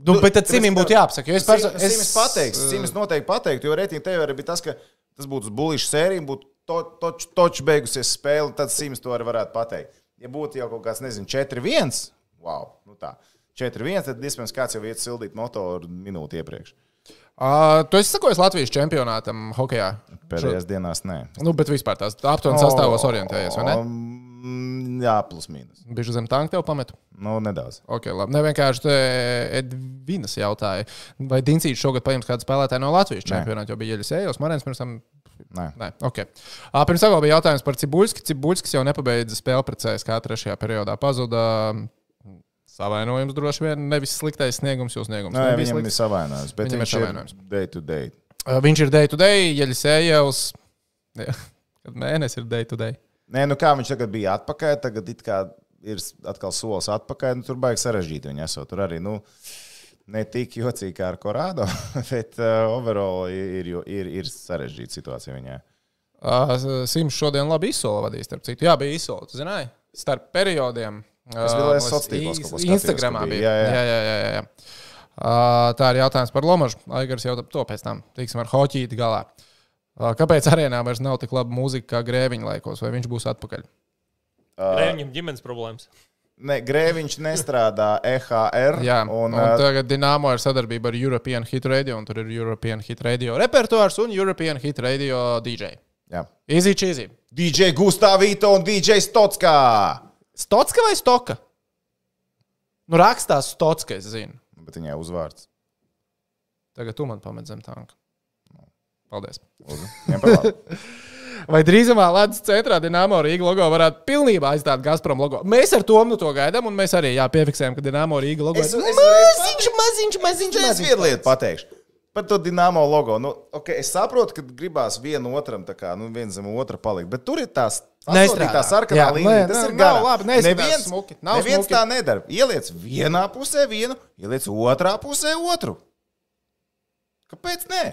A: nu, bet tad
B: tāpēc
A: Simim
B: ka-
A: būtu jāapsaka. jo Es
B: Sims,
A: perso-
B: es... Sims pateiks, Sims noteikti pateiks, jo reitinga teorija bija tas, ka tas būtu uz bulīšu sēriju, būtu to, toč, toč beigusies spēle, tad Sims to arī varētu pateikt. Ja būtu jau kaut kāds, nezinu, 4-1, wow, nu tā, 4-1, tad iespējams kāds jau iet sildīt motoru minūti iepriekš.
A: Ā, Tu esi sakojis Latvijas čempionātam hokeja.
B: Pēdējās Šo... dienās nē.
A: Nu, bet vispār tās aptuveni sastāvos orientējies, vai ne?
B: Mm, Jā, plus mīnus.
A: Bišķi zem tanka tev pametu.
B: Nu, nedaudz.
A: Okay, labi. ne vienkārši te Edvinas jautāja, vai Dienčīs šogad paņems kādu spēlētāju no Latvijas čempionāta, jo bija Ielis Ejos, Marēns pirms tam.
B: Nē.
A: Nē, ok. Ā, Pirms tam vēl bija jautājums par Cibulski. Cibulskis jau nepabeidza spēli pret CSK trešajā periodā. Pazuda mm, savainojums droši vien, nevis sliktais sniegums, jo sniegums
B: Nē,
A: nebija
B: viņam ir
A: slikts.
B: savainojums, bet
A: Viņam ir
B: viņam viņš ir
A: savainojums.
B: day to day.
A: Ā, Uh, Viņš ir day to day, Ielis Ejos. Kad mēnesis ir day to day.
B: Nē, nu kā viņš tagad bija atpakaļ, tagad it kā ir s- atkal solis atpakaļ. Nu, tur baigi sarežģīti viņa esot. Tur arī nu, ne tik jocīgi kā ar Korādo, bet uh, overall ir, jo- ir, ir sarežģīta situācija viņai.
A: Ā, Uh, Sims šodien labi izsola vadīs, starp citu. Jā, bija izsola, tu zināji, starp periodiem.
B: Es biju, lai es
A: Ā,
B: sociāldīklos kaut ko skatījos,
A: Instagramā
B: ka bija.
A: bija.
B: Jā, jā.
A: jā, jā, jā, jā, jā. Ā, Tā ir jautājums par Lomažu. Aigars jau to pēc tam, tiksim, ar hoķīti galā. Ā, Kāpēc arēnā vairs nav tik laba mūzika kā grēviņa laikos, vai viņš būs atpakaļ?
C: Uh, Viņam ģimenes problēmas.
B: Ne, Grēviņš nestrādā EHR.
A: Jā, un,
B: un, uh,
A: un
B: un,
A: tagad Dienāmo ir sadarbība ar European Hit Radio, un tur ir European Hit Radio repertuārs un European Hit Radio DJ.
B: jā.
A: Easy cheesy.
B: DJ Gustavīto un DJ Stotskā.
A: Stotska vai Stoka? Nu, rakstās Stotska, es zinu.
B: Nu, Bet viņai uzvārds.
A: Tagad tu man pamet zem tanka. Nu, Paldies.
B: Lūdzu, ņem par labu.
A: Vai drīzumā Latvijas centrā Dienāmo Rīga logo varētu pilnībā aizstāt Gazprom logo? Mēs ar to nu to gaidām, un mēs arī jā, piefiksējam, ka Dienāmo Rīga logo
B: Es-
A: ir nu,
B: es-
A: maziņš, maziņš, maziņš.
B: Es
A: maziņš.
B: vienu lietu pateikšu. Par to dīnāmo logo. Nu, okay, es saprotu, ka gribās vienam otram, tā kā nu, viens zem otra palikt. Bet tur ir tās
A: Nestrādā.
B: tā sarkanā
A: Jā,
B: līnija.
A: nē,
B: Tas
A: nē,
B: ir
A: nav
B: garām.
A: labi, neizskatās
B: Neviens,
A: smuki, nav
B: neviens
A: smuki.
B: tā nedara. Ieliec vienā pusē vienu, ieliec otrā pusē otru. Kāpēc? Nē?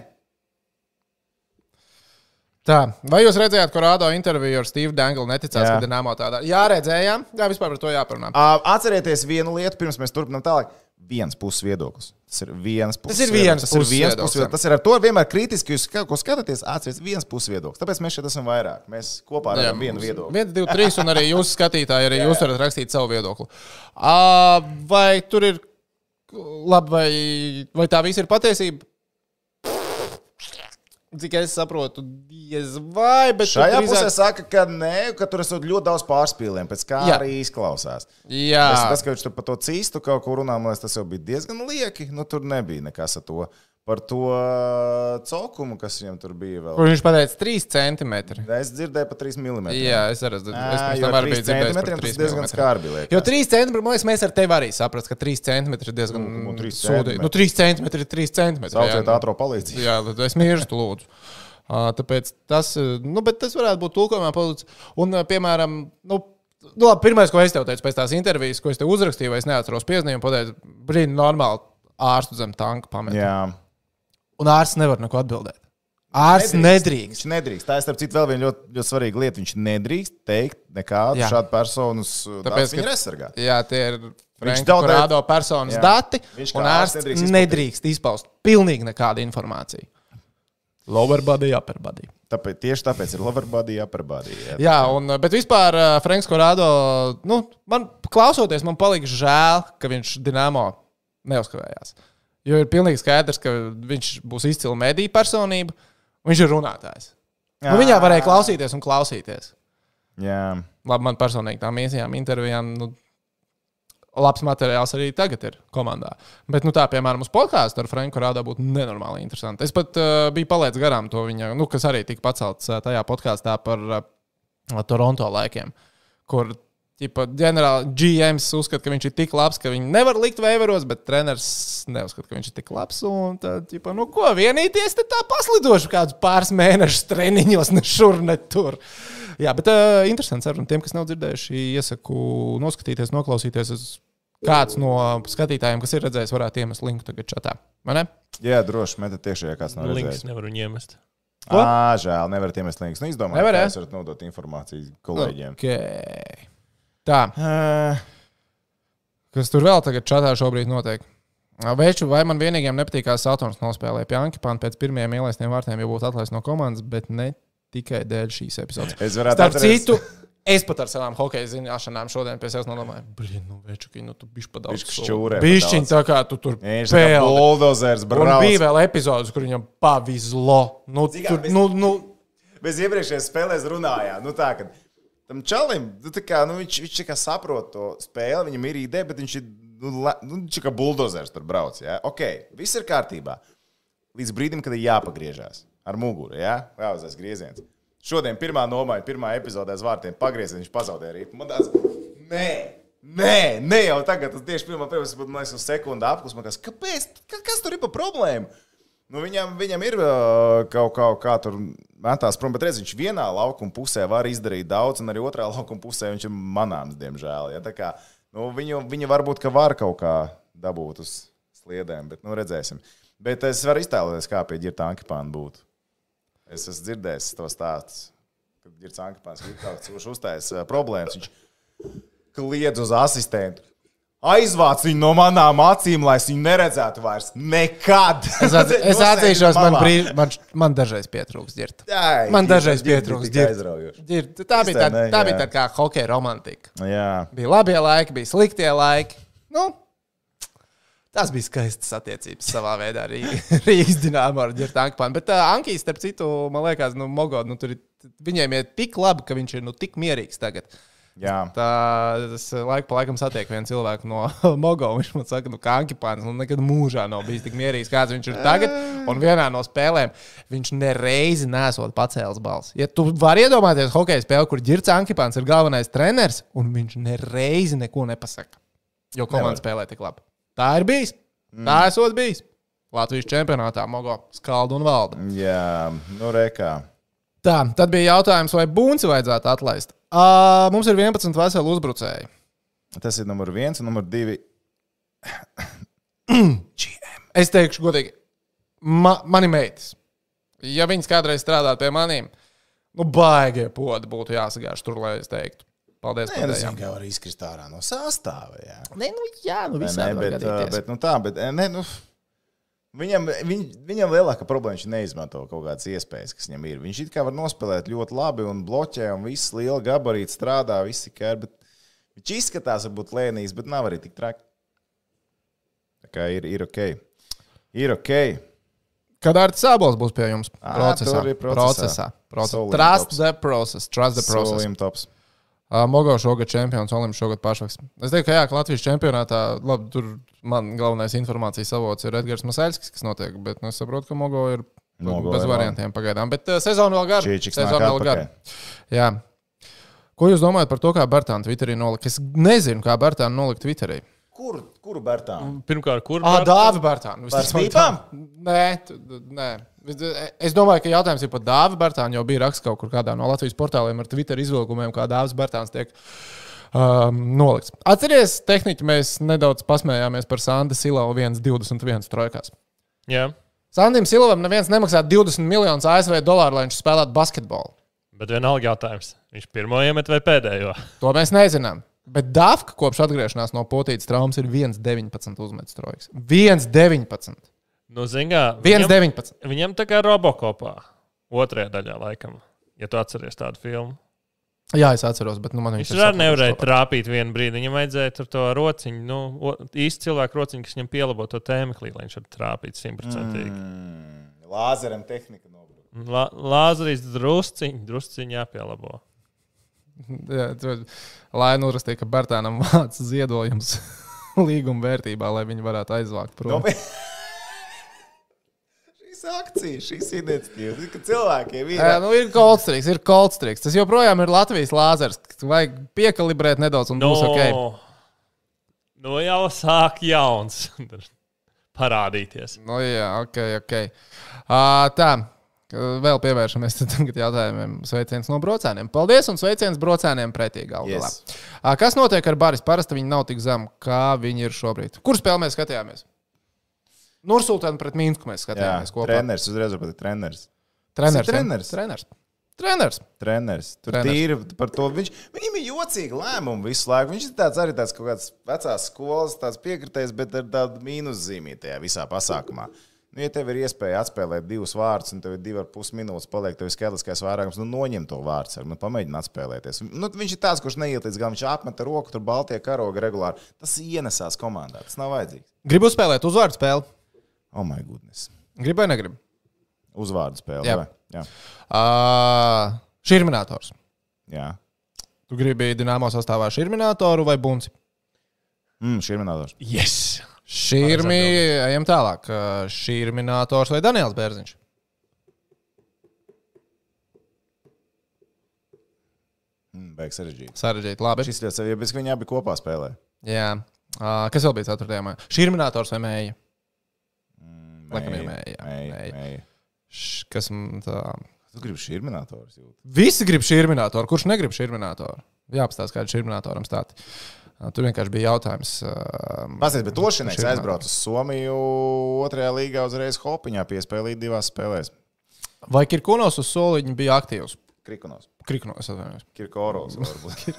A: Tā, vai jūs redzējāt, kur rādo interviju ar Steve Danglu? Neticās,
B: Jā.
A: ka Dienāmo tādā. Jā, redzējām. Jā, vispār par to jāparunā.
B: Ā, Atcerieties vienu lietu, pirms mēs turpinām tālāk. Viens puses viedoklis. Tas ir viens puses
A: ir viens
B: viedoklis.
A: puses
B: Tas ir viens
A: viedoklis,
B: puses viedoklis. Tas ir ar to vienmēr kritiski. Jūs kaut ko skatāties, atcerieties, viens puses viedoklis. Tāpēc mēs šeit esam vairāk. Mēs kopā ar vienu viedokli.
A: 1, 2, 3. Un arī jūs, skatītāji, arī jūs varat rakstīt savu viedokli. Uh, vai tur ir labi, vai, vai tā viss ir patiesība? Cik es saprotu, diez vai. bet tur
B: Šajā
A: drīzāk-
B: pusē saka, ka nē, ka tur esot ļoti daudz pārspīlējumu, pēc kā
A: Jā.
B: jā. arī izklausās.
A: Jā,
B: Tas, tas, ka viņš tur par to cīstu kaut ko runā, man liekas, tas jau bija diezgan lieki. Nu, tur nebija nekas ar to. Par to cokumu, kas viņam tur bija vēl.
A: kur viņš pateica 3 centimetri.
B: Es dzirdēju par 3 mm.
A: Jā, es arī dzirdēju. Es pirms tam arī biju dzirdējis, ka
B: centimetriem tas diezgan skarbi
A: Jo
B: liekas.
A: 3 centimetri, man liekas, mēs ar tevi arī saprast, ka 3 centimetri ir diezgan
B: Nu, nu, trīs
A: sūdīgi. Nu, 3 centimetri ir 3 centimetri. jā.
B: Sauciet ātrā palīdzību.
A: Jā, tad es mirstu, lūdzu. Uh, tāpēc tas, uh, nu, bet tas varētu būt tulkojumā palīdz. Un, uh, piemēram, nu, nu labi, pirmais, ko es tev teicu pēc tās intervijas, ko es tev uzrakstīju, vai es neatceros piezīmējumu, pateicu, brīdi, normāli ārstu zem tanka pamet.
B: Jā.
A: Un ārsts nevar neko atbildēt. Ārs nedrīkst.
B: Viņš nedrīkst. Tā ir starp citu vēl viena ļoti, ļoti svarīga lieta. Viņš nedrīkst teikt nekādu
A: Jā.
B: šādu uh, personu. Tāpēc
A: ka-
B: viņš ir aizsargāts.
A: Jā, tie ir Frančiska
B: daudz-
A: Prādo personas
B: Jā.
A: jā. dati.
B: Viņš kā
A: Un
B: ārsts
A: ārsts
B: nedrīkst izplatīt.
A: nedrīkst, nedrīkst izpaust pilnīgi nekādu informāciju. Lower body, upper body.
B: Tāpēc, tieši tāpēc ir Loverbody jāparbādī. Jā.
A: Jā, un, eh, bet vispār Frančiska Prādo, nu, man klausoties, man palika žēl, ka viņš Dienāmo neuzkavējās. Jo ir pilnīgi skaidrs, ka viņš būs izcila mediju personība. un Viņš ir runātājs. Nu, viņā varēja klausīties un klausīties.
B: Jā.
A: Labi, man personīgi tām īsajām intervijām. Nu, Labs materiāls arī tagad ir komandā. Bet, nu, tā, piemēram, uz podkāstu ar Franku Rādā būtu nenormāli interesanti. Es pat uh, biju palaidis garām to viņa, nu, kas arī tika pacelts uh, tajā podkāstā par uh, Toronto laikiem, kur ģipa, ģenerāli GMs uzskata, ka viņš ir tik labs, ka viņu nevar likt veivaros, bet treneris neuzskata, ka viņš ir tik labs. Un tad, ģipa, nu, ko vienīties, tad tā paslidošu kādus pāris mēnešus treniņos, ne šur, ne tur. Jā, bet uh, interesants saruna. Tiem, kas nav dzirdējuši, iesaku noskatīties, noklausīties. Es- Kāds no skatītājiem, kas ir redzējis, varētu iemest linku tagad čatā. vai ne?
B: Jā, droši vien tiešā, ja kāds nav
C: Links
B: redzējis.
C: nevar viņu iemest.
A: Ko?
B: Ā, žēl, nevar iemest links. Nu, izdomāju,
A: Nevar,
B: kā
A: jā? Nu.
B: jūs varat nodot informāciju kolēģiem.
A: Okay. Tā.
B: Uh,
A: Kas tur vēl tagad čatā šobrīd notiek? Veču, vai man vienīgajam nepatīk, kā Satons nospēlēja Pjanka pānu pēc pirmajiem ielaistiem vārtiem, jau būtu atlaists no komandas, bet ne tikai dēļ šīs epizodes.
B: es varētu
A: Starp
B: atrast-
A: citu, es pat ar savām hokeja zināšanām šodien pie sevis nodomāju, blin, nu, veču, nu, tu bišķi padaudz.
B: Bišķi šķūrē pa
A: Bišķiņ
B: daudz.
A: tā kā tu tur
B: Viņš ir
A: pēli.
B: buldozers,
A: Un bija
B: brālis.
A: vēl epizodes, kur viņam pavizlo. Nu,
B: Zini kā,
A: tur,
B: mēs-
A: nu, nu,
B: Bez iepriekšējās spēlēs runājām. Nu, tā, kad tam čalim, nu, tā kā, nu, viņš, viņš tā kā saprot to spēli, viņam ir ideja, bet viņš ir nu, le- nu, viņš ir kā buldozers tur brauc. Ja? Ok, viss ir kārtībā. Līdz brīdim, kad ir jāpagriežās ar muguru, ja? jāuzais grieziens. Šodien pirmā nomaiņa, pirmā epizodē aiz vārtiem pagrieziens, viņš pazaudēja rīpu. Man tāds, nē! Nē, nē, jau tagad tas tieši pirmā pieprasījuma, bet man liekas, uz sekundi apklusma, kas, kāpēc, Ka- kas tur ir pa problēmu? Nu, viņam, viņam ir ā, kaut kā, kā tur metās prom, bet redz, viņš vienā laukuma pusē var izdarīt daudz, un arī otrā laukuma pusē viņš ir manāms, diemžēl. Ja? Tā Kā, nu, viņu, viņu varbūt ka var kaut kā dabūt uz sliedēm, bet nu, redzēsim. Bet es varu iztēloties, kā pie ģirta ankipāna būtu. Es esmu dzirdējis to stāstu, kad ģirts ankipāns ir kaut kāds uztaisījis problēmas. Viņš kliedz uz asistentu. Aizvāc viņu no manām acīm, lai es viņu neredzētu vairs. Nekad!
A: es atz- es atzīšos, man,
B: Malā.
A: brīž, man, š- man dažreiz pietrūks dzirdēt.
B: Ai,
A: Man
B: ģirdi,
A: dažreiz
B: ģirdi
A: pietrūkst
B: tik
A: ģirdi.
B: aizraujoši.
A: Ir, tā bija tā,
B: Istenē,
A: tā,
B: jā.
A: bija tā kā hokeja romantika.
B: Jā,
A: Bija labie laiki, bija sliktie laiki. Nu, tas bija skaists attiecības savā veidā arī Rīgas dīnāmā ar Girtu Ankpānu. Bet uh, Ankīs, starp citu, man liekas, nu, Mogod, nu, tur ir, viņiem ir tik labi, ka viņš ir nu, tik mierīgs tagad.
B: jā.
A: Tā es laiku pa laikam satieku vienu cilvēku no Mogo. Viņš man saka, nu, ka Ankipāns nu, nekad mūžā nav bijis tik mierīgs, kāds viņš ir tagad. Un vienā no spēlēm viņš nereizi nesot pacēlis balsi. Ja tu vari iedomāties hokeja spēli, kur Girts Ankipāns ir galvenais treneris, un viņš nereizi neko nepasaka. Jo komanda spēlē tik labi. Tā ir bijis. Mm. Tā esot bijis. Latvijas čempionātā Mogo skaldu un valda.
B: jā. Nu, rekā.
A: Tā, tad bija jautājums, vai Bunci vajadzētu atlaist. Uh, mums ir 11 veseli uzbrucēji.
B: Tas ir numur viens un numur divi.
A: Es teikšu, godīgi, ma, mani meitas, ja viņas kādreiz strādātu pie maniem, nu, baigie podi būtu jāsagāž tur, lai es teiktu. Paldies,
B: Nē, tas
A: pārējām.
B: jau var izkrist ārā no sastāvā. Jā,
A: nu, Nē, nu, jā, nu,
B: Vai
A: visādi
B: ne?
A: var
B: bet, ā,
A: gadīties.
B: bet, nu, tā, bet, ē, ne, nu, viņam, viņ, viņam lielākā problēma ir, viņš neizmanto kaut kādas iespējas, kas viņam ir. Viņš it kā var nospēlēt ļoti labi un bloķē, un viss liela gabarīta strādā, visi kā ir. bet Viņš izskatās, varbūt lēnīgs, bet nav arī tik traki. Tā kā ir, ir ok. Ir ok.
A: Kad ar Sābols būs pie jums?
B: Ā,
A: Procesā.
B: tur ir procesā.
A: procesā. procesā.
B: Solim
A: Trust
B: tops.
A: the process. Trust the process.
B: Solim tops.
A: Uh, Mogo šogad čempions, Olimps šogad pašvaks. Es teiktu, ka jā, ka Latvijas čempionātā, labi, tur man galvenais informācijas avots ir Edgars Masaļskis, kas notiek, bet nu, es saprotu, ka Mogo ir
B: Mogo
A: bez
B: ir,
A: variantiem pagaidām. Bet uh, sezona vēl gara.
B: Čīčiks nāk
A: Sezona vēl gara. Jā. Ko jūs domājat par to, kā Bartāna Twitterī nolika? Es nezinu, kā Bartāna nolika Twitterī.
B: Kur, kuru Bertānu?
C: Pirmkārt, kur
A: Ah,
C: Bartā?
A: dāvi Bartāna.
B: Par
A: visticamāk
B: snipām?
A: tā. Nē, tu- nē. e- Es domāju, ka jautājums ir par dāvi Bartānu. Jau bija raksts kaut kur kādā no Latvijas portāliem ar Twitter izvilkumiem, kā dāvis Bartāns tiek um, nolikts. Atcerieties, tehniķi mēs nedaudz pasmējāmies par Sandu Silau 1,21 trojkās.
C: Jā,
A: Sandim Silvam neviens nemaksā 20 miljonus ASV dolāru, lai viņš spēlētu basketbolu.
C: Bet vienalga jautājums. Viņš pirmo iemet vai pēdējo?
A: To mēs nezinām. Bet Dafka kopš atgriešanās no potītas traumas ir 1,19 uzmetas trojķis. 1,19.
C: Nu, zingā,
A: 1,19.
C: Viņam tā kā Robokopā otrajā daļā laikam, ja tu atceries tādu filmu.
A: Jā, es atceros, bet nu, man viņš
C: Viņš
A: ir
C: arī
A: sapratuši
C: nevarēja
A: to.
C: trāpīt vienu brīdi. Viņam vajadzēja tur to rociņu, nu, o- īsti cilvēku rociņu, kas viņam pielabo to tēmeklī, lai viņš varētu trāpīt simtprocentīgi.
B: Mm, Lāzeram tehnika nobrūk.
C: Mm. La, Lāzeris drusciņš, drusciņš jāpielabo.
A: Jā, tu- Lai nu uzrakstīja, ka Bartānam vāc ziedojums līguma vērtībā, lai viņi varētu aizvākt prom.
B: Nopietni. Šīs akcijas, šīs iniciatīvas, ir, ka cilvēkiem ir.
A: Jā, nu ir kolstrīks, ir kolstrīks. Tas joprojām ir Latvijas lāzers. Vajag piekalibrēt nedaudz, un būs ok.
C: nu jau sāk jauns parādīties.
A: Nu, jā, ok, ok. Uh, tā, ka vēl pievēršamies tad tagad jautājumiem. Sveiciens no brocēniem. Paldies un sveiciens brocēniem pretī galu galā.
B: Yes.
A: Uh, kas notiek ar Baris? Parasti viņi nav tik zemi, kā viņi ir šobrīd. Kur spēlē mēs skatījāmies? Nursultāna pret Mīnsku mēs
B: Jā,
A: skatījāmies kopā.
B: treneris, uzreiz jau pat treneris.
A: Treneris.
B: Tas ir
A: ja?
B: treneris.
A: Treneris. Treneris.
B: Treneris. Tur
A: Treneris.
B: tīri par to. Viņš, viņam ir jocīgi lēmumi visu laiku. Viņš ir tāds arī tāds kaut kāds vecās skolas tāds piekritējs, bet ar tādu mīnuszīmī tajā visā pasākumā. Nu, ja tev ir iespēja atspēlēt divus vārdus, un tev ir divi ar pus minūtes, paliek tev skaitliskais vairākums, nu noņem to vārdu, nu pamēģini atspēlēties. Nu, viņš ir tāds, kurš neiet līdz galam, viņš apmet roku, tur Baltijā karoga regulāri. Tas ienesās komandā, tas nav vajadzīgs.
A: Gribu spēlēt uzvārdu spēli.
B: Oh, my goodness!
A: Gribu vai negribu?
B: Uzvārdu spēle.
A: Jā.
B: vai? Jā.
A: Uh, Širminators.
B: Jā.
A: Tu gribi Dienāmo sastāvā širminatoru vai bunci?
B: Mm, šī ir monēta.
C: Yes!
A: Šīrmi, ejam tālāk. Uh, Šīrminators vai Daniels Bērziņš?
B: Mm, Beigas sarežģīta.
A: Sarežģīti, labi.
B: Šis ļoti savi, bet viņi abi kopā spēlē.
A: Jā. Uh, kas vēl bija 4. maijā? Šīrminators vai mēja? Laikam
B: Mēja,
A: ir mēja, jā,
B: mēja,
A: mēja.
B: mēja.
A: Š- Kas man tā?
B: Tu gribi šī ir monēta.
A: Visi grib šīrminatoru. Kurš negrib šīrminatoru? Jāpastāsta, kāda ir šīrminatoram stāta. Uh, tur vienkārši bija jautājums. Uh,
B: Pastāstiet, bet Ošinēks
A: Širminators.
B: aizbrauca uz Somiju otrajā līgā uzreiz hopiņā piespēlīt divās spēlēs.
A: vai Kirkunos uz soliņa bija aktīvs?
B: Krikonos.
A: Krikunos, atvainojos.
B: Kirkoros. varbūt.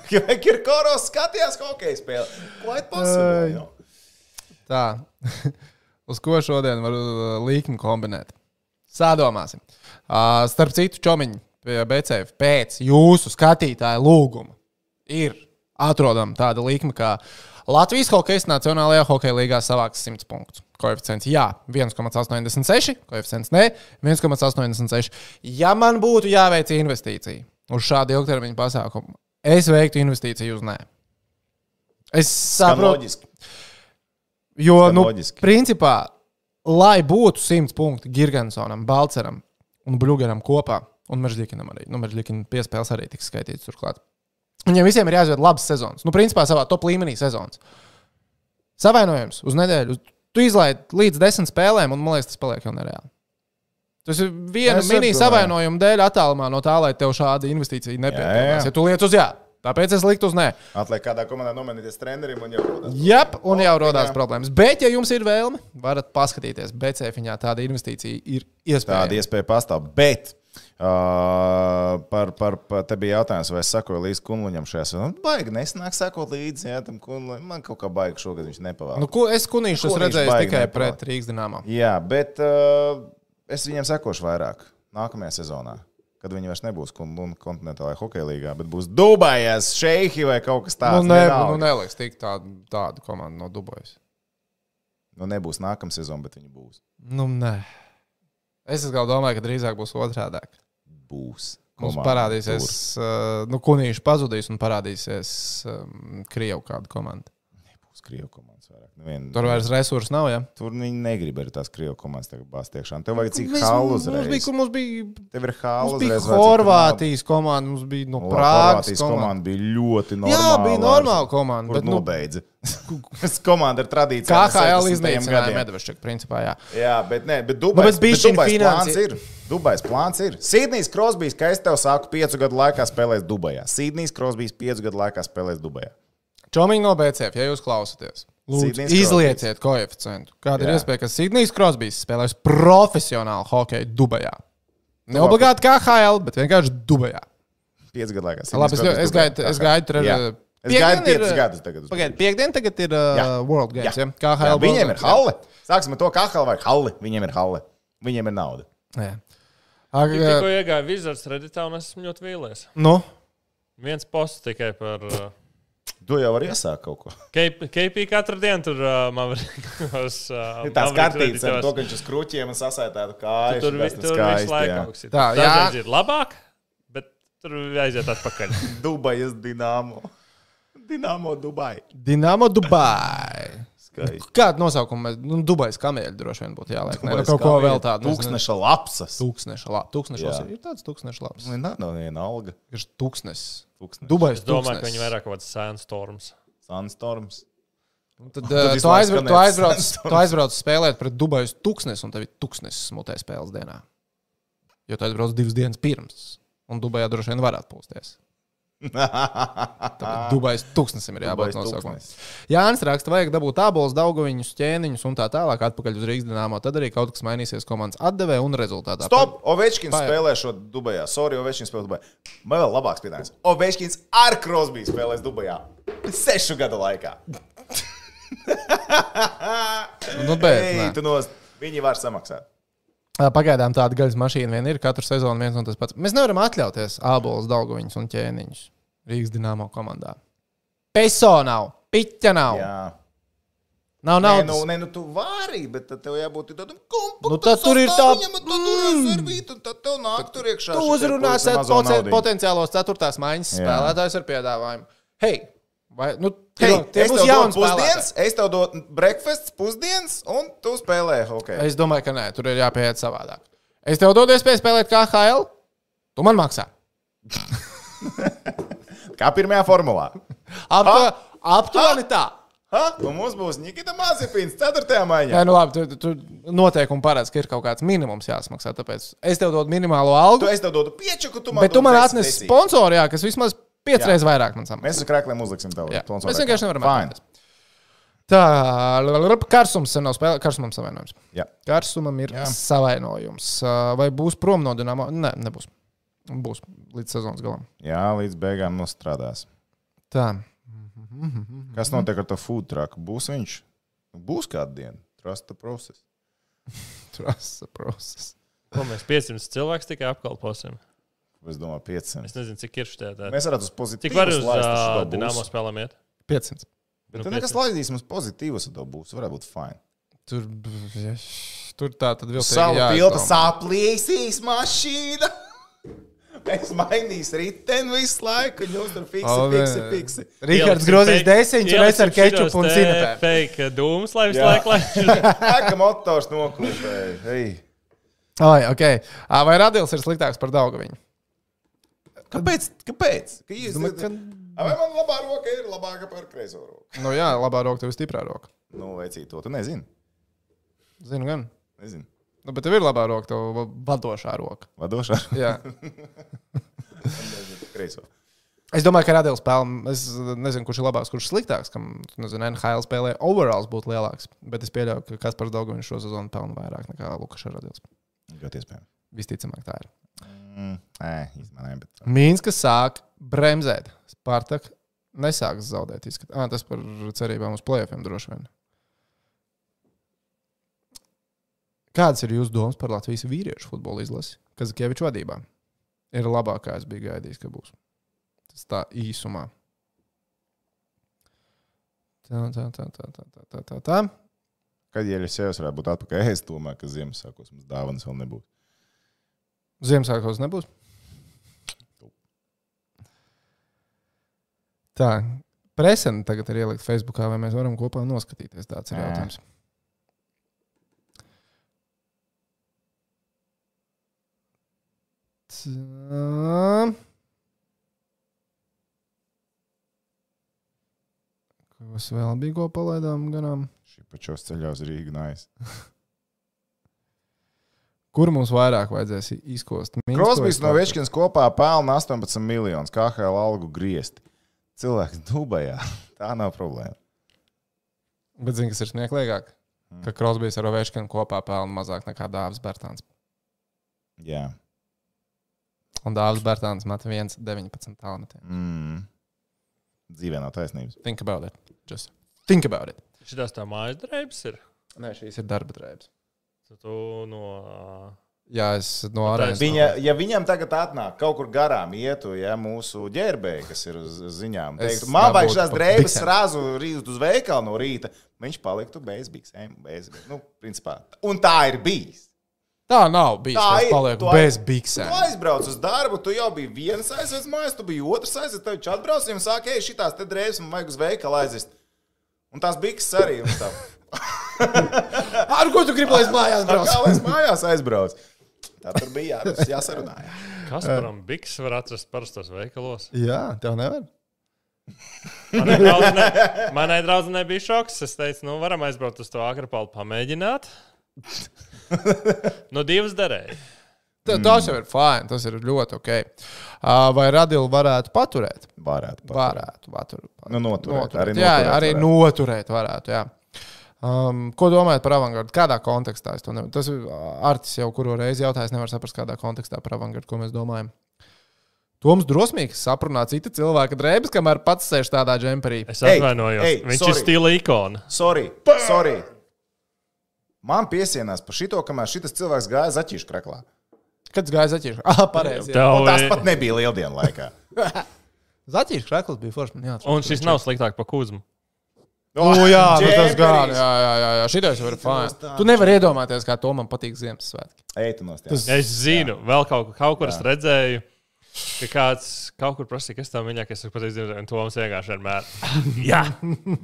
B: Kirkoros skatījās hokeja spēli. Quite possible. jo.
A: Tā, uz ko šodien var uh, līkni kombinēt? Sādomāsim. Uh, starp citu, Čomiņš, BCF, pēc jūsu skatītāja lūguma ir atrodama tāda līkme, kā Latvijas hokeja Nacionālajā hokeja līgā savāks 100 punktus. Koeficients jā, 1,86, koeficients nē, 1,86. Ja man būtu jāveic investīcija uz šādu ilgtermiņu pasākumu, es veiktu investīciju uz nē. Es
B: Skan
A: saprotu,
B: loģiski.
A: Jo,
B: Gan
A: nu,
B: loģiski.
A: principā, lai būtu 100 punkti Gigantsonam, Balceram un Blugaram kopā, un Meržģikinam arī, nu, Meržģikina piespēles arī tiks skaitīts turklāt. Viņiem visiem ir jāizved labs sezons. Nu, principā, savā top līmenī sezons. Savainojums uz nedēļu. Tu izlaidi līdz desmit spēlēm, un man liekas, tas paliek jau nereāli. Tas ir viena
B: Es
A: mini
B: saprotu.
A: savainojuma dēļ, attālumā no tā, lai tev šāda investīcija
B: Jā, jā.
A: nepietiekās. Ja tu liec uz jā, tāpēc es liktu uz nē.
B: Atliek kādā komandā nomainīties trenerim un jau rodas.
A: Jā, un jau radās problēmas. Bet, ja jums ir vēlme, varat paskatīties. BCFiņā tāda investīcija ir
B: Tāda
A: iespējama.
B: iespēja pastāv. Bet uh, par, par, par te bija jautājums, vai es sakoju līdz kunluņam šajā sezonā. Baigi nesanāk sakot līdzi, jā, tam kunluņam. Man kaut kā baigi šogad viņš nepavēl.
A: Nu, ko es kunīšu, es
B: Kunīšs
A: redzēju
B: baigi
A: tikai
B: nepalaiž.
A: pret Rīgas dīnāmā.
B: Jā, bet uh, es viņiem sekošu vairāk nākamajā sezonā. Kad viņi vairs nebūs kon- un kontinentālajā hokeja līnijā, bet būs Dubajās, Šeihi vai kaut kas
A: Nu,
B: tāds.
A: nē,
B: vienalga.
A: nu, neliks tik tādu, tādu komandu no Dubojas.
B: nu, nebūs nākamā sezona, bet viņi būs.
A: Nu, nē. Es atkal domāju, ka drīzāk būs otrādi.
B: Būs.
A: Mums
B: Komanda
A: parādīsies,
B: tur.
A: uh, nu, kunīši pazudīs un parādīsies um, Krievijas kāda komanda.
B: Būs Krievu komandas vairāk. Nevien,
A: Tur vairs resursu nav, ja?
B: tur viņi negrib arī tās Krievu komandas tagad bāzt iekšā. Tev vajag cik
A: Nu, Mēs-
B: halu
A: Mums bija,
B: uzreiz.
A: kur mums bija,
B: Tev ir
A: mums
B: halu
A: bija
B: uzreiz.
A: Horvātijas komanda, mums bija no Prāgas.
B: Prātīs
A: komanda.
B: komanda bija ļoti normāla.
A: Jā, bija normāla komanda.
B: Kur
A: Bet, nu,
B: nobeidza? Tas komanda ir tradīcija.
A: KHL iznīcināja Medvešķiku, principā. Jā.
B: Jā, bet nē, bet Dubais,
A: bet
B: bet
A: bišķiņ
B: Dubais
A: finansi-
B: plāns ir. Dubais plāns ir. Sīdnijas Krosbīs, kā es tev saku, piecu gadu laikā spēlēs Dubajā. Sīdnijas Krosbīs piecu gadu laikā spēlēs Dubajā.
A: Čomiņš no BCF, ja jūs klausāties, Lūdzu,
B: Sidnijs
A: izlieciet koeficientu. Kāda ir
B: Jā.
A: iespēja, ka Sidnijs Krosbīs spēlēs profesionāli hokeju Dubajā?
B: Nu,
A: Neobligāti kā HL, bet vienkārši Dubajā.
B: Pieci gadu laikā.
A: Labi, es,
B: Sidnijs
A: es
B: Crosbys
A: gaidu,
B: Dubajā.
A: es gaidu tur. eh,
B: Jā. Es gaidu piecus gadus tagad. uz
A: Pagaidiet, piekdien tagad ir uh,
B: Jā.
A: World Games. Ja? Kā
B: Jā,
A: HL?
B: viņiem ir halle. Sāksim ar to, kā halle vai halle. Viņiem ir halle. Viņiem ir nauda.
C: Ja tikko
A: halle.
C: iegāju Wizards Redditā un esmu ļoti vīlies.
A: eh, Nu,
C: Viens posts tikai par uh,
B: To jau var iesākt kaut ko.
C: K- KP katru dienu tur uh, man var uz uh,
B: Tās
C: Mavericks
B: kartītes ar
C: Redditos.
B: to, ka viņš uz krūtīm un sasētētu kājas.
C: Tur,
B: un
C: vi,
B: tas
C: tur
B: skaisti,
C: visu laiku
B: jā.
C: kaut kas ir.
A: Tā, jā.
C: Dažreiz ir labāk, bet tur aiziet atpakaļ.
B: Dubajas Dienāmo. Dienāmo Dubai.
A: Dienāmo Dubai.
B: Skaisti.
A: Kādu nosaukumu mēs, nu, Dubajas kamieļi droši vien būtu jāliek. Ne, nu,
B: Dubajas
A: kaut ko
B: kā
A: vēl
B: viena
A: tādu. nezinu.
B: Tūkstneša lapsas.
A: Tūkstneša lapa. Tūkstneša
B: Jā.
A: lapa. Ir tāds tūkstneša lapa.
B: Nē, nav viena alga.
A: Tieši tūkstnes.
B: Tūkstneša.
A: Dubajas
C: Nu, Es domāju, ka
A: tūkstnes.
C: viņi vairāk kaut kāds sandstorms.
B: Sunstorms.
A: Un Nu, Tad,
B: Tad
A: tad tu,
B: vispār
A: aizbrauc,
B: skanēs
A: tu, aizbrauc,
B: Sandstorms.
A: tu aizbrauc spēlēt pret Dubajas tūkstnes, un tev ir tūkstnes smutē spēles dienā. Jo tu aizbrauc divas dienas pirms, un Dubajā droši vien varētu pūsties. Tāpēc Dubajas tūkstnesim ir jābūt
B: Dubajas
A: nosaukumam.
B: tūkstnes.
A: Jānis raksta, vajag dabūt abus dauguviņus, ķēniņus un tā tālāk atpakaļ uz Rīgas dīnāmo. Tad arī kaut kas mainīsies komandas atdevē un rezultātā.
B: Stop! Ovečkins
A: Paiet.
B: spēlē šo Dubajā. Sorry, Ovečkins spēlē Dubajā. Man vēl labāks piedāvājums. Ovečkins ar Krosbiju spēlēs Dubajā. Sešu gadu laikā.
A: Nu, bet,
B: Ei,
A: nē.
B: tu nos- Viņi var samaksāt.
A: Ā, Pagaidām tāda gaļas mašīna vien ir. Katru sezonu viens un tas pats. Mēs nevaram atļauties ābolus, dauguviņus un ķēniņus Rīgas dīnāmo komandā. Peso nav, piķa nav, Jā.
B: Jā.
A: nav
B: Nē,
A: naudas.
B: nu, nē, nu tu vari, bet tad tev jābūt tādam kompaktam.
A: Nu, tad tur ir tā- Mm.
B: sastāvam, Tad tur ir servīta, un tad tev nāk tur
A: Tu
B: iekšā. šis ar
A: uzrunāsi
B: pavisam mazo
A: poten-
B: naudiņu.
A: potenciālos ceturtās maiņas
B: Jā.
A: spēlētājus ar piedāvājumu. Hei, vai nu,
B: Hei,
A: tie, tie
B: es
A: būs
B: tev dodu
A: jauns
B: pusdienas,
A: pusdienas?
B: es tev dodu breakfast, pusdienas, un tu spēlē hokeju.
A: Es domāju, ka nē, tur ir jāpieiet savādāk. Es tev dodu iespēju spēlēt KHL, tu man maksā.
B: Kā pirmajā formulā. Ah!
A: Aptu- Aptuveni tā.
B: Ha? Un mums būs Nikita Mazepins 4. maijā.
A: Jā, nu labi, tur tu, noteikumi parāda, ka ir kaut kāds minimums jāsmaksā. Tāpēc es tev dodu minimālo algu.
B: Tu es tev dodu pieču, ka tu man
A: Bet tu man
B: dod
A: atnesi
B: desmit.
A: sponsoru, jā, kas vismaz
B: Jā.
A: piecreiz vairāk man samaksā.
B: Mēs uz krākliem uzliksim tev.
A: Jā.
B: sponsoru
A: Mēs vienkārši
B: reklāmu.
A: nevaram atļauties. Tā, labi, karsums sen nav spēlējis. Karsumam savainojums.
B: Fine. Jā.
A: Karsumam ir jā. savainojums. Ā, Vai būs prom no Dunamo? Nē, nebūs. Būs līdz sezonas galam.
B: Jā, līdz beigām nostrādās.
A: Tā.
B: Kas
C: Mhm.
B: notiek ar to food truck? Būs viņš? Nu, Būs kādu dienu. Trust the process.
A: Trasa process.
C: Ko mēs 500 cilvēkus tikai apkalposim?
B: Es domāju, 500.
C: Es nezinu, cik ir šitā. tā.
B: Mēs varētu uz pozitīvu.
C: Cik var uz uh, Dienāmo spēlēm iet?
A: 500.
B: Bet
C: Nu,
B: tad nekas
C: 500.
B: laidīs mums pozitīvas, tad būs. Varētu būt fajn.
A: Tur, ja, tur tā tad vēl
B: Savu tiltu saplīsīs mašīna. Es mainīšu ritenu visu laiku. Jūs tur fiksi, fiksi, fiksi.
A: Rihards
C: Ieliksim
A: grozīs
C: fake-
A: desiņu, un es ar
C: ieliksim šitos
A: kečupu un
C: te
A: zinām.
C: Fake dūmus, lai visu
B: Jā.
C: laiku lai.
B: Aka motors noklīpēja. Hei.
A: Ai, okay. Ā, Vai Radils ir sliktāks par Daugaviņu?
B: Kāpēc? Kāpēc? Ka jūs,
A: Domāju, ka-
B: A, Vai man labā roka ir labāka par kreiso roku?
A: Nu jā, labā roka, tev ir stiprā roka.
B: Nu, vecīt, to tu nezini.
A: Zinu, gan.
B: Nezinu.
A: Nu, bet tev ir labā roka, tev va- vadošā roka.
B: Vadošā ar
A: Jā.
B: kreiso.
A: Es domāju, ka Radījums spēlē, es nezinu, kurš ir labāks, kurš sliktāks. Kam, nezinu, NHL spēlē overalls būtu lielāks. Bet es pieļauju, ka Kaspars Daugaviņš šo sezonu pelna vairāk nekā Lukas Radījums.
B: Ļoti iespējams.
A: Visticamāk, tā ir.
B: Mm, nē, īstenībā nē, bet.
A: Mīnska sāk bremzēt. Spartak nesāks zaudēt. Izskat... Ah, tas par cerībām uz plēsoņiem droši vien. Kādas ir jūsu domas par Latvijas vīriešu futbola izlasi? Kazakievičs vadībā ir labākā, es biju gaidījis, ka būs. Tas tā īsumā. Tā, tā, tā, tā, tā, tā, tā, tā, tā.
B: Kad jau es jau varētu būt atpakaļ, es domāju, ka Ziemassvētkos mums dāvanas vēl nebūs.
A: Ziemassvētkos nebūs. Tā, presena tagad ir ielikt Facebookā, vai mēs varam kopā noskatīties. Tāds ir
B: Ā.
A: jautājums. Tā. Ko es vēl biju ko palaidām garām?
B: Šī pačos ceļos Rīga nājas.
A: Kur mums vairāk vajadzēs izkost? Minsku vai
B: Krosbīs no
A: Spartaku?
B: Večkins kopā pelna 18 miljonus KHL algu griezti. Cilvēks Dubajā. Tā nav problēma.
A: Bet zini, kas ir smieklīgāk? Ka Krosbīs ar Ovečkinu kopā pelna mazāk nekā Dāvis Bērtāns.
B: Jā.
A: Un Dāvis Bērtāns met 1,19 tālmetiem.
B: Mm. Dzīvē nav taisnības.
A: Think about it. Just think about it.
C: Šitās tā mājas drēbes ir.
A: Nē, šīs ir darba drēbes.
C: Tu tu no.
A: Jā, es no ārējas.
B: Viņa, ja viņam tagad atnāk kaut kur garām, ietu ja, mūsu ģērbēji, kas ir uz uz ziņām,
A: Es
B: teiktu, man vajag
A: dabūtu
B: šās
A: pa
B: drēbes
A: biksēm."
B: rāzu rīt uz veikalu no rīta, viņš paliktu bez biksēm, bez, nu, principā. Un tā ir bijis.
A: Tā nav bijusi.
B: Tā
A: Es
B: ir,
A: palieku
B: tu aiz-
A: bez
B: Tu
A: biksēm.
B: aizbrauc uz darbu, tu jau biji viens aizsēdz mājās, tu biji otrs aizsēdz, tad viņš atbrauc un saka, ej, šitās te drēbes man vajag uz veikalu aizvest. Un tās bikses arī. un tā.
A: Ar ko tu gribi, lai es mājās
B: Ar Kā
A: braucu?
B: lai es mājās aizbraucu? Tā tur bija jā, tas jāsarunājas.
C: Kas param biks var atrast parastos veikalos?
A: Jā, tev nevar.
C: Manai draudzenei- Manai draudzenei bija šoks. Es teicu, nu, varam aizbraukt uz to agrapalu, pamēģināt. no divas darēja.
A: Tā, Mm. tas jau ir fajn, tas ir ļoti ok. Uh, vai radilu varētu paturēt?
B: Varētu. pat.
A: Varētu. Patur, patur,
B: Nu, noturēt. Arī
A: jā, jā,
B: noturēt
A: arī
B: varētu.
A: noturēt varētu. Jā. Um, ko domājat par avangardu? Kādā kontekstā? es to Ne... Tas ir Artis jau kuru reizi jautājis, nevar saprast, kādā kontekstā par avangardu, ko mēs domājam. Toms drosmīgs saprunā cita cilvēka drēbes, kamēr pats sēž tādā džemperī.
C: Es
B: Ei,
C: atvainojos. Ei,
B: ei,
C: ei, Viņš sorry.
B: sorry.
C: ir stila ikona.
B: Sorry, sorry. Man piesienās par šito, kamēr šis cilvēks gāja zaķīšu kreklā.
A: Kad gāja zaķīšu? Ah, pareizi. jā.
B: Un
C: Tev,
B: tās
C: ir-
B: pat nebija lieldienu laikā.
A: Zaķīšu krāklis bija foršs. man jāatceras.
C: Un šis nav sliktāk par kūzmu.
A: O, jā, nu tas
B: Džemperīs.
A: gan. Jā, jā, jā, jā. šitais jau ir fajn. Tu nevari iedomāties, kā to man patīk Ziemassvētki.
B: Ej, tu nost. jā.
A: Tas-
C: Es zinu, jā. vēl kaut, kaut kur es redzēju. Ka kāds kaut kur prasīja, kas tam viņa, kas ir pateicīgs, un to mums vienkārši vienmēr. Jā,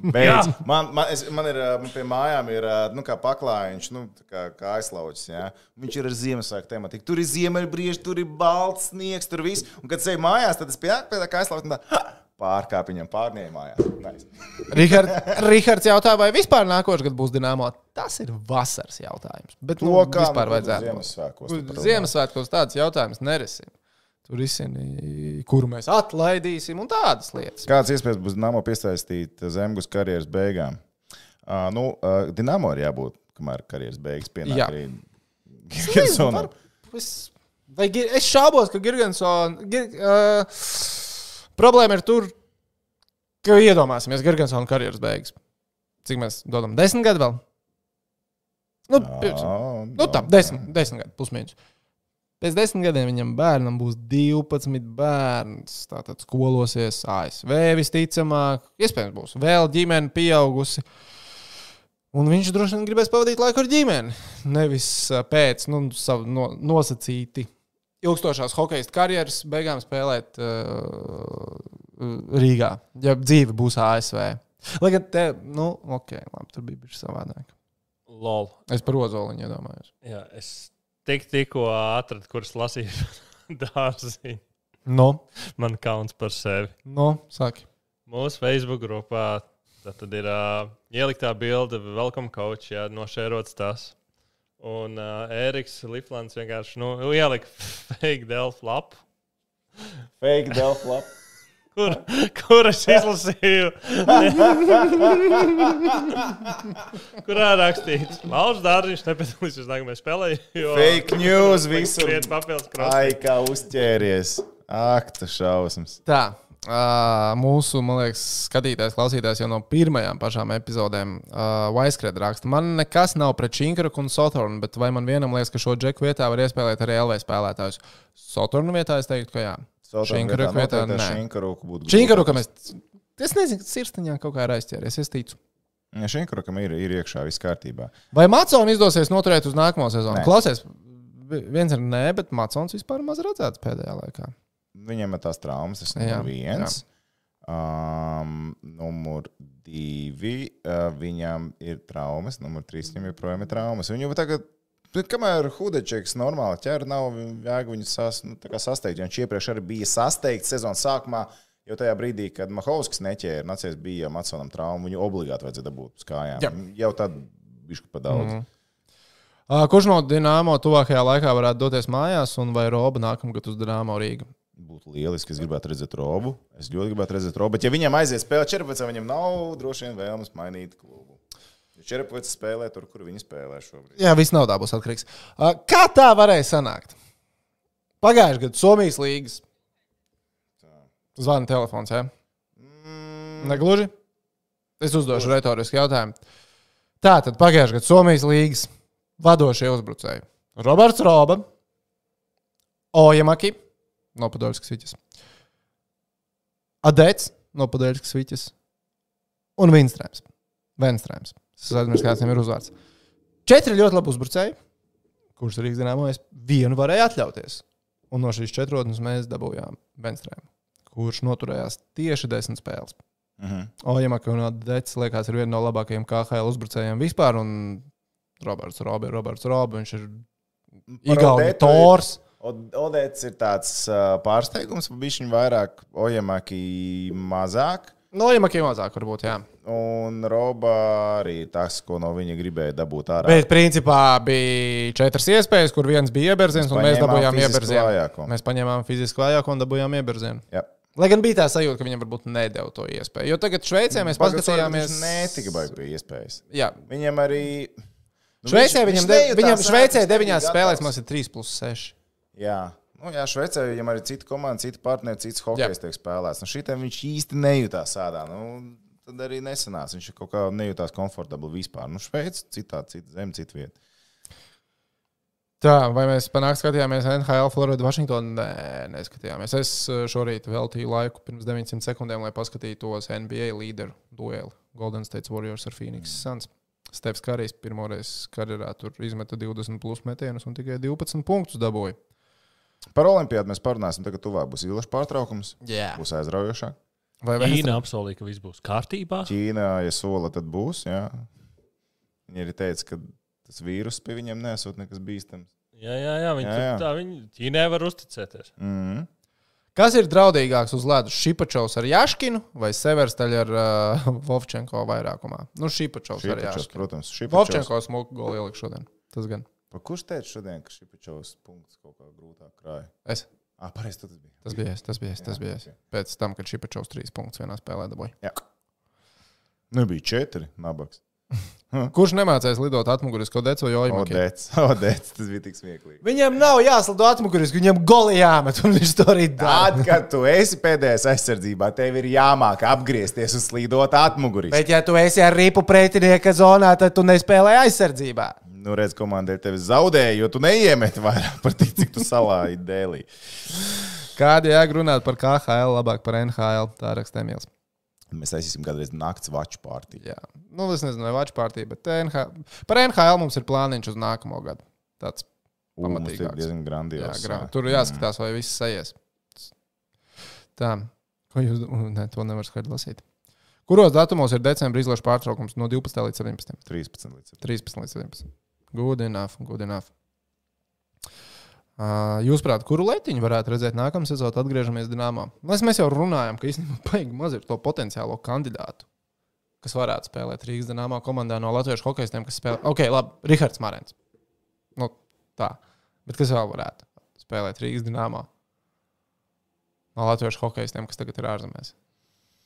B: Beidz. Man, man, es, man ir ā, man pie mājām, ir ā, nu, kā paklājiņš, nu, tā kā, kā aizlaucis. Ja? Viņš ir ar Ziemassvētku tematiku. Tur ir ziemeļbrieži, tur ir balts sniegs, tur viss. Un, kad ceļā mājās, tad es pienāku pie tā kā aizlaucis. un tā, "Ha!" Pārkāpiņam, pārņēmu mājās. Nice.
A: Rihards jautā, vai vispār nākošais gads būs dināmā. Tas ir vasaras jautājums. Bet nu,
B: kā, nu,
A: vispār
B: tu
A: vajadzētu.
B: Ziemassvētkos tu par
A: Uz
B: to
A: Ziemassvētkos tāds jautājums nerisin. Tur izsini, kuru mēs atlaidīsim, un tādas lietas.
B: Kāds iespējas būs Dienāmo piesaistīt eh, zemgus karjeras beigām? Uh, nu, uh, Dienāmo ir jābūt, kamēr karjeras beigas
A: Jā.
B: pienāk arī Gersonam.
A: Es, vai, Gir- es šaubos, ka Gigantsona gir, uh, problēma ir tur, ka iedomāsimies Gigantsona karjeras beigas. Cik mēs dodam? Desmit gadi vēl? Nu, pirms,
B: Ā,
A: nu
B: jā.
A: tā, desmit, desmit gadi, pusmīnus. Pēc desmit gadiem viņam bērnam būs 12 bērns. Tātad skolosies ASV visticamāk, iespējams, būs vēl ģimene pieaugusi. Un viņš droši vien gribēs pavadīt laiku ar ģimeni. Nevis ā, pēc nu, savu no, nosacīti ilgstošās hokeja karjeras beigām spēlēt uh, Rīgā, ja dzīve būs ASV. Lai gan te, nu, ok, labi, tur bija bijis savādāk.
C: lol.
A: Es par Ozoliņu iedomājos.
C: Jā, es tik, tikko atradu, kuras lasīju dārziņu.
A: No,
C: Man kauns par sevi.
A: no, saki.
C: Mūsu Facebook grupā tad, tad ir uh, ieliktā bilde, welcome coach, jā, nošērots tas. Un uh, Eriks Liflants vienkārši nu, ielika fake delfu lapu,
B: Fake Delphi lapa.
C: kur, kur es izlasīju. Kurā rakstīts, Mauls Dārziņš nepiedalīsies nākamajā spēlē, jo
B: Fake news visur.
C: viens papildus krāsa.
B: Ai, kā uzķēries. Ak, tas šausmas.
A: Tā. Uh, mūsu, man liekas, skatītājs, klausītājs jau no pirmajām pašām epizodēm uh, Vaiskrēta raksta, man nekas nav pret Činkraku un Soturnu, bet vai man vienam liekas, ka šo džeku vietā var iespēlēt arī LV spēlētājus? Soturnu vietā es teiktu, ka jā. Činkraku vietā nē.
B: Šinkaruka būtu.
A: Činkaruka mēs. Es nezinu, kas sirsniņā kaut kā ir aizķēries, es ticu.
B: Ja Šinkaruka ir, ir iekšā viss kārtībā.
A: Vai Macons izdosies noturēt uz nākamo sezonu?
B: Nē.
A: Klausies, vi- viens ir nē, bet Macons vispār maz redzēts pēdējā laikā.
B: Viņam ir tās traumas, tas
A: Jā,
B: ir viens. Um, numur divi, uh, viņam ir traumas, numur trīs, viņam joprojām ir traumas. Viņu jau tagad, bet kamēr Hudečeks normāli ķēra, nav jēga viņu sas, nu, tā kā sasteigt. jo Viņš iepriekš arī bija sasteigts sezonas sākumā, jo tajā brīdī, kad Mahovskis neķēra, nācies bija jau Matsonam trauma, viņu obligāti vajadzēja dabūt uz kājām.
A: Jā. Mhm.
B: Jau tad bišku pa daudz. Mm.
A: Uh, kurš no Dienāmo tuvākajā laikā varētu doties mājās, un vai Roba nākamgad uz Dienāmo Rīgā?
B: Būtu lieliski, es gribētu redzēt robu. Es ļoti gribētu redzēt robu, bet ja viņam aizies spēlēt 14, viņam nav droši vien vēlmes mainīt klubu. Čerpavets spēlē tur, kur viņi spēlē šobrīd.
A: Jā, viss nav tā būs atkarīgs. Uh, Kā tā varēja sanākt? Pagājušajā gadā Somijas līnijas zvana telefons. Ja? Negluži? Es uzdošu retorisku jautājumu. Tā tad pagājušajā gadā Somijas līnijas vadošie uzbrucēji - Roberts Roba, Ojamaki no Padovskas Viķes, Adēts no Padovskas Viķes un Vinstrēms. Venstrēms. Es aizmirsu, kāds viņam ir uzvārds. Četri ļoti labi uzbrucēji, kurš Rīgas dīnāmojas, vienu varēja atļauties. Un no šīs četrotnes mēs dabūjām Venstrēmu, kurš noturējās tieši desmit spēles.
B: Mhm.
A: Ojamaka un Dēcis, liekas, ir viena no labākajiem KHL uzbrucējiem vispār. Un Roberts Robi ir Roberts Robi. Viņš ir
B: Par
A: Igaunijas
B: Odetu
A: tors.
B: Od- Odets ir tāds uh, pārsteigums, bija viņa vairāk, Ojamaki mazāk.
A: No Ojamaka Nu, mazāk, varbūt. Jā.
B: Un Roba arī tas, ko no viņa gribēja dabūt ārā.
A: Bet principā bija četras iespējas, kur viens bija ieberziens, un mēs
B: paņēmām
A: dabūjām
B: fizisku
A: ieberzienu.
B: vājāko.
A: Mēs paņēmām fizisku vājāko un dabūjām ieberzienu.
B: Jā.
A: Lai gan bija tā sajūta, ka viņam varbūt nedēļa to iespēju. Jo tagad
B: Mm.
A: Šveicē mēs paskatījāmies.
B: Nē, tikai baigi bija iespējas.
A: Jā,
B: Viņam arī. Nu,
A: Šveicē viņam, de,
B: nejūtās
A: viņam
B: ērti,
A: Šveicē
B: viņš
A: deviņās
B: nebija
A: spēlēs
B: gatavs.
A: mums ir 3 plus 6.
B: Jā. Nu, jā, Šveicē viņam arī cita komanda, cita partneri, cits hokejs tiek spēlēts. Nu, Šitā viņš īsti nejūtās ādā. Nu, tad arī nesanāca. Viņš kaut kā nejūtās komfortabli vispār. Nu, Šveice, citā, cita zeme, cita vieta.
A: Tā, vai mēs panākām, skatījāmies NHL, Floridu, Vašingtonu? Nē, neskatījāmies. Es eh, šorīt veltīju laiku pirms 900 sekundēm, lai paskatītos NBA līderu dueli. Golden State Warriors ar Phoenix Suns. Stefs Kārijs pirmoreiz karjerā tur izmeta 20 plus metienus un tikai 12 punktus dabūja.
B: Par olimpiādu mēs parunāsim. Tagad tuvāk būs ilgs pārtraukums.
A: Jā.
B: Būs aizraujošāk.
A: Vai vēl?
D: Ķīna apsolīja, ka viss būs kārtībā.
B: Ķīnā, ja sola, tad būs. Jā. Viņi arī teica, ka tas vīrus pie viņiem nesot nekas bīstams.
C: Jā, jā, jā, viņi
B: Jā,
C: tur
B: jā.
C: tā, viņi Ķīnai var uzticēties.
B: Mm
A: Mhm.
B: -hmm.
A: Kas ir draudīgāks uz ledus? Šipačovs ar Jaškinu vai Severstaļ ar uh, Vovčenko vairākumā? Nu, Šipačovs ar
B: Šipačos,
A: Jaškinu.
B: protams, Šipačos.
A: Vovčenko smuku golu ielikt šodien. Tas gan.
B: Pa Kurš teica šodien, ka Šipačos punkts kaut kā grūtāk krāja?
A: Es.
B: Ah, pareizi, tu tas bija.
A: Tas bija es, tas bija es, tas bija es. Pēc tam, kad Šipačovs trīs punktus vienā spēlē dabūja.
B: Jā. Nu, bija četri nabaks.
A: Kurš nemācās lidot atmugurisko decu vai jojumu?
B: Odets, Odets, tas bija tik smieklīgi.
A: Viņam nav jāslido atmugurisku, viņam goli jāmet, un viņš to arī dara.
B: Tad, kad tu esi pēdējais aizsardzībā, tev ir jāmāk apgriezties un slīdot atmugurī.
A: Bet, ja tu esi ar ripu pretinieka zonā, tad tu nespēlē aizsardzībā.
B: Nu, redz, komandai tevi zaudēja, jo tu neiemeti vairāk par tik, cik tu salāji dēlī.
A: Kādi jēga runāt par KHL, labāk par NHL? Tā rakstā Mīls.
B: Mēs aizsim kādreiz nakts vaču pārtīku.
A: Jā, nu, es nezinu, vai Vācu partija, bet NHL... par NHL mums ir plāniņš uz nākamo gadu. Tāds
B: Mums ir
A: Pamatīgāks.
B: diezgan
A: jā,
B: grandios.
A: grāmatā. Tur jāskatās, vai viss aizies. Tā, ko jūs domājat? Nē, to nevar skaidri lasīt. Kuros datumos ir decembris izlaižu pārtraukums no 12 līdz 17?
B: 13 līdz 17.
A: 13 līdz 17. Good enough, good enough. Uh, Jūsuprāt, kuru letiņu varētu redzēt nākamā sezonā, atgriežamies Dienāmā? Mēs, mēs jau runājam, ka īstenībā paigi maz ir to potenciālo kandidātu, kas varētu spēlēt Rīgas Dienāmā komandā no latviešu hokeistiem, kas spēlē. Ok, labi, Rihards Marens. Nu, tā. Bet kas vēl varētu spēlēt Rīgas Dienāmā no latviešu hokeistiem, kas tagad ir ārzemēs?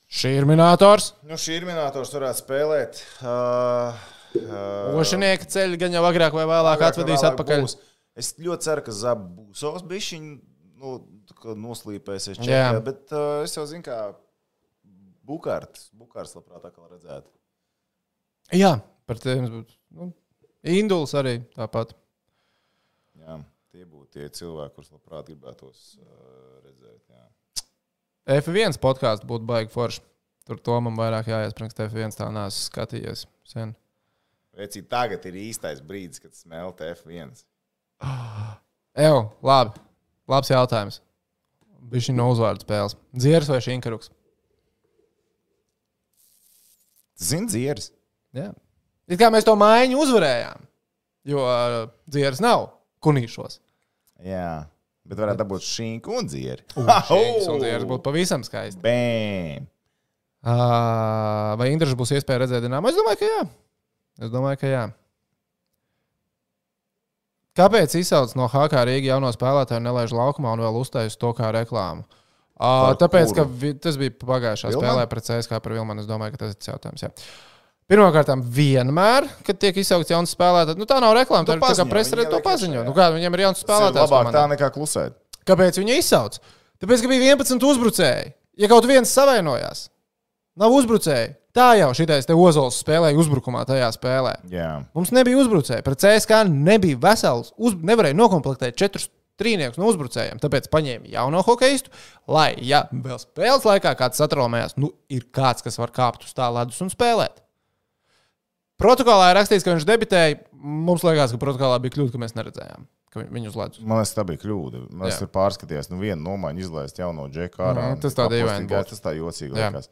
A: Šī ir minētājs.
B: Nu, šī ir minētājs, varētu spēlēt. Uh, uh,
A: Ošinieka ceļi gan jau agrāk vai vēlāk
B: agrāk vai
A: atvedīs
B: vēlāk
A: atpakaļ.
B: būs. Es ļoti ceru, ka Zabs būs savs bišķiņš. Nu, tā kā noslīpēsies
A: Jā.
B: čempionā, bet uh, es jau zinu, kā Bukārts. Bukārts labprāt atkal redzētu.
A: Jā, par tiem būtu. Nu, Induls arī tāpat.
B: Jā, tie būtu tie cilvēki, kurus labprāt gribētos uh, redzēt. Jā.
A: F1 podkāsts būtu baigi forši. Tur to man vairāk jāiesprāgst. F1 tā nesu skatījies sen.
B: Veci, tagad ir īstais brīdis, kad smelt F1.
A: Evo, labi. Labs jautājums. Viņš ir no uzvārdu spēles. Dzieras vai šinkaruks?
B: Zini, dzieris.
A: Jā. It kā mēs to mājiņu uzvarējām. Jo uh, dzieras nav kunīšos.
B: Jā, bet varētu dabūt šīm un dzieri.
A: Šīs un dzieras būtu pavisam skaisti.
B: Bēm!
A: Uh, vai Indriša būs iespēja redzēt dināmu? Es domāju, ka jā. Es domāju, ka jā. Kāpēc izsauc no HK Rīgas jauno spēlētāju, nelaiž laukumā un vēl uztais to kā reklāmu? Uh,
B: Par
A: tāpēc, ka
B: kuru?
A: vi, tas bija pagājušā
B: Vilmanu?
A: spēlē pret CSK par Vilmanu. Es domāju, ka tas ir tas jautājums. Jā. Pirmkārt, vienmēr, kad tiek izsaukts jauns spēlētājs, nu tā nav reklāma.
B: Tu
A: Tā ir tā kā
B: paziņo,
A: presa,
B: viņi
A: to
B: ieliek
A: paziņo.
B: iekšā,
A: Nu,
B: jā.
A: kā viņam ir jauns spēlētājs?
B: labāk
A: komandā.
B: tā nekā klusēt.
A: Kāpēc viņu izsauc? Tāpēc, ka bija 11 uzbrucēji. Ja kaut viens savainojās, nav uzbrucēji. Tā jau šitais te Ozols spēlēja uzbrukumā tajā spēlē.
B: Jā.
A: Mums nebija uzbrucēji. Pret CSK nebija vesels. Uz... Nevarēja noklāpēt četrus trīniekus no uzbrucējiem. Tāpēc paņēma jauno hokeistu, lai, ja vēl spēles laikā kāds satraumējās, nu ir kāds, kas var kāpt uz tā ledus un spēlēt. Protokolā ir rakstīts, ka viņš debitēja. Mums liekas, ka protokolā bija kļūda, ka mēs neredzējām, ka viņ- viņu uz ledus.
B: Man liekas, tā bija kļūda. Man liekas,
A: Jā.
B: ir pārskatījies, nu, viena nomaiņa izlaist jauno džeku ārā.
A: Mhm, tas tā dīvaini
B: bija.
A: būtu.
B: Tas tā jocīgi
A: Jā.
B: liekas.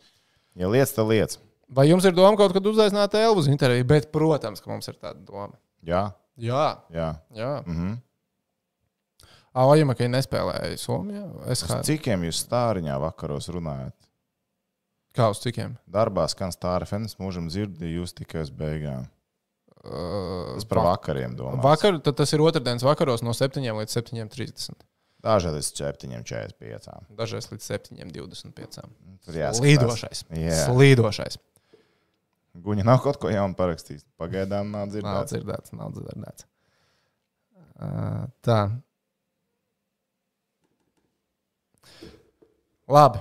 B: Ja lietas, tad lietas.
A: Vai jums ir doma kaut kad uzaicināt Elvu uz interviju? Bet, protams, ka mums ir tāda doma.
B: Jā,
A: Jā,
B: jā.
A: jā.
B: Mhm.
A: Aujama, ka nespēlēja Somijā. Es kā
B: Cikiem jūs stāriņā vakaros runājat?
A: kā uz cikiem?
B: Darbā skan stāra fens, mūžam dzirdēju jūs tikai uz beigām.
A: Uh,
B: Tas par vakariem domā.
A: Vakar, tad tas ir otrdienas vakaros no 7 līdz 7.30.
B: Dažādas 7, 45.
A: Dažreiz līdz 7.25.
B: Tur jāskatās.
A: Slīdošais.
B: Jā.
A: Slīdošais.
B: Guņa nav kaut ko jaunu parakstījis. Pagaidām
A: Nav
B: nav dzirdēts.
A: dzirdēts, nav dzirdēts. Uh, tā. Labi.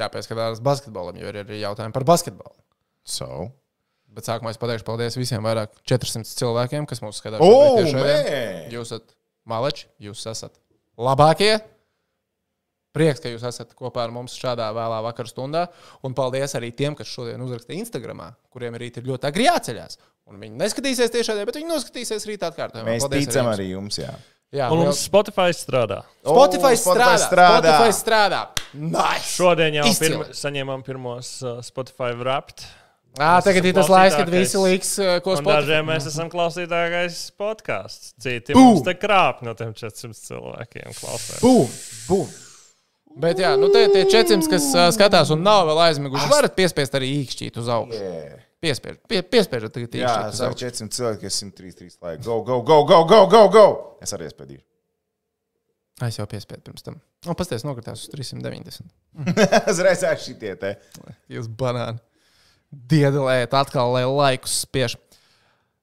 A: Jāpieskatās basketbolam, jo ir arī jautājumi par basketbolu.
B: So.
A: Bet sākumā es pateikšu paldies visiem vairāk 400 cilvēkiem, kas mūsu skatās.
B: Oh,
A: šobrīd tiešraidē.
B: man!
A: jūs esat maleči, jūs esat labākie. Prieks, ka jūs esat kopā ar mums šādā vēlā vakarā stundā. Un paldies arī tiem, kas šodien uzrakstīja Instagram, kuriem rīt ir ļoti agri jāceļās. Un viņi neskatīsies tiešādē, bet viņi noskatīsies rīt atkārtojumā.
B: Mēs
A: Paldies
B: ticam
A: jums.
B: arī jums, jā.
A: Jā,
C: Un
A: liels-
C: mums Spotify strādā.
A: Spotify
B: O,
A: strādā.
B: strādā.
A: Spotify strādā. Nice.
C: Šodien jau
A: Izcili.
C: pirma, saņēmām pirmos uh, Spotify wrapped.
A: Ā, tagad ir tas laiks, kad visi liks, eh, ko
C: Un
A: spēlē.
C: dažiem mēs esam klausītākais podkāsts. Citi mums te krāp no tiem 400 cilvēkiem klausās.
A: Bum, bum. Bet, jā, nu, tie, tie 400, kas uh, skatās un nav vēl aizmiguši, varat piespiest arī īkšķīt uz augšu.
B: Yeah.
A: Piespiež, pie, piespiežat, tagad
B: Jā,
A: īkšķīt uz
B: saka,
A: augšu.
B: 400 cilvēki, kas 133 laika. Go, go, go, go, go, go, go! Es arī spēļīju.
A: Ai, Es jau piespiedu pirms tam. Un pasties, nokritās uz 390.
B: Uzreiz ar šitie te.
A: Jūs banāni. Diedelējat atkal, lai laikus spiež.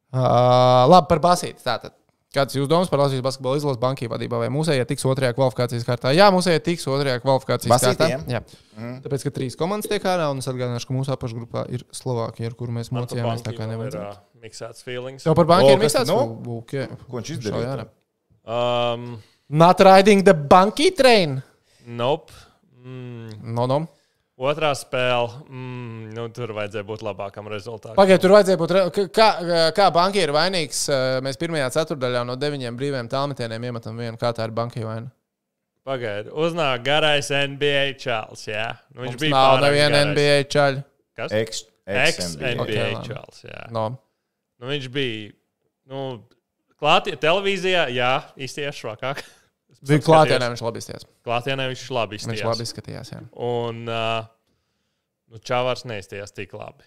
A: Uh, labi, par basīti. Tātad. Kāds ir jūsu domas par Latvijas basketbola izlases bankai vadībā? Vai mūsējie tiks otrajā kvalifikācijas kārtā? Jā, mūsējie tiks otrajā kvalifikācijas
B: Basītiem?
A: kārtā. Jā. Mm. Tāpēc, ka trīs komandas tiek ārā, un es atgādināšu, ka mūsu apakšgrupā ir Slovākija, ar kuru mēs mocījāmies. Tā kā nevajadzētu.
C: Miksēts uh, feelings.
A: Tev par bankiem
B: O,
A: ir miksēts?
B: kas tad
A: Nu?
B: nav? Ko viņš izdarīja? tad?
C: Um,
A: Not riding the banky train.
C: nope. Mm.
A: No, no.
C: Otrā spēle. Mm, nu, tur vajadzēja būt labākam rezultātam.
A: Pagaidiet, tur vajadzēja būt. re- ka- Kā, kā bankai ir vainīgs? eh, Mēs pirmajā ceturdaļā no deviņiem brīviem tālmetieniem iemetam vienu. Kā tā ir bankai vaina?
C: Pagaidiet, uznāk garais NBA čels. Jā, nu, viņš
A: Mums
C: bija
A: nav
C: pārāk
A: neviena
C: garais.
A: NBA čaļa.
C: Kas?
B: Ex-
C: Ex-NBA
B: Ex-NBA.
A: Ok, labi.
C: čels. Jā.
A: No.
C: Nu, viņš bija nu, klātie televīzijā, jā, īstenībā švakāk.
A: Bija klātienē, viņš labi izties.
C: Klātienē viņš labi
A: Viņš
C: izskatījās.
A: labi izskatījās. Jā.
C: Un uh, nu, Čāvārs neizties tik labi.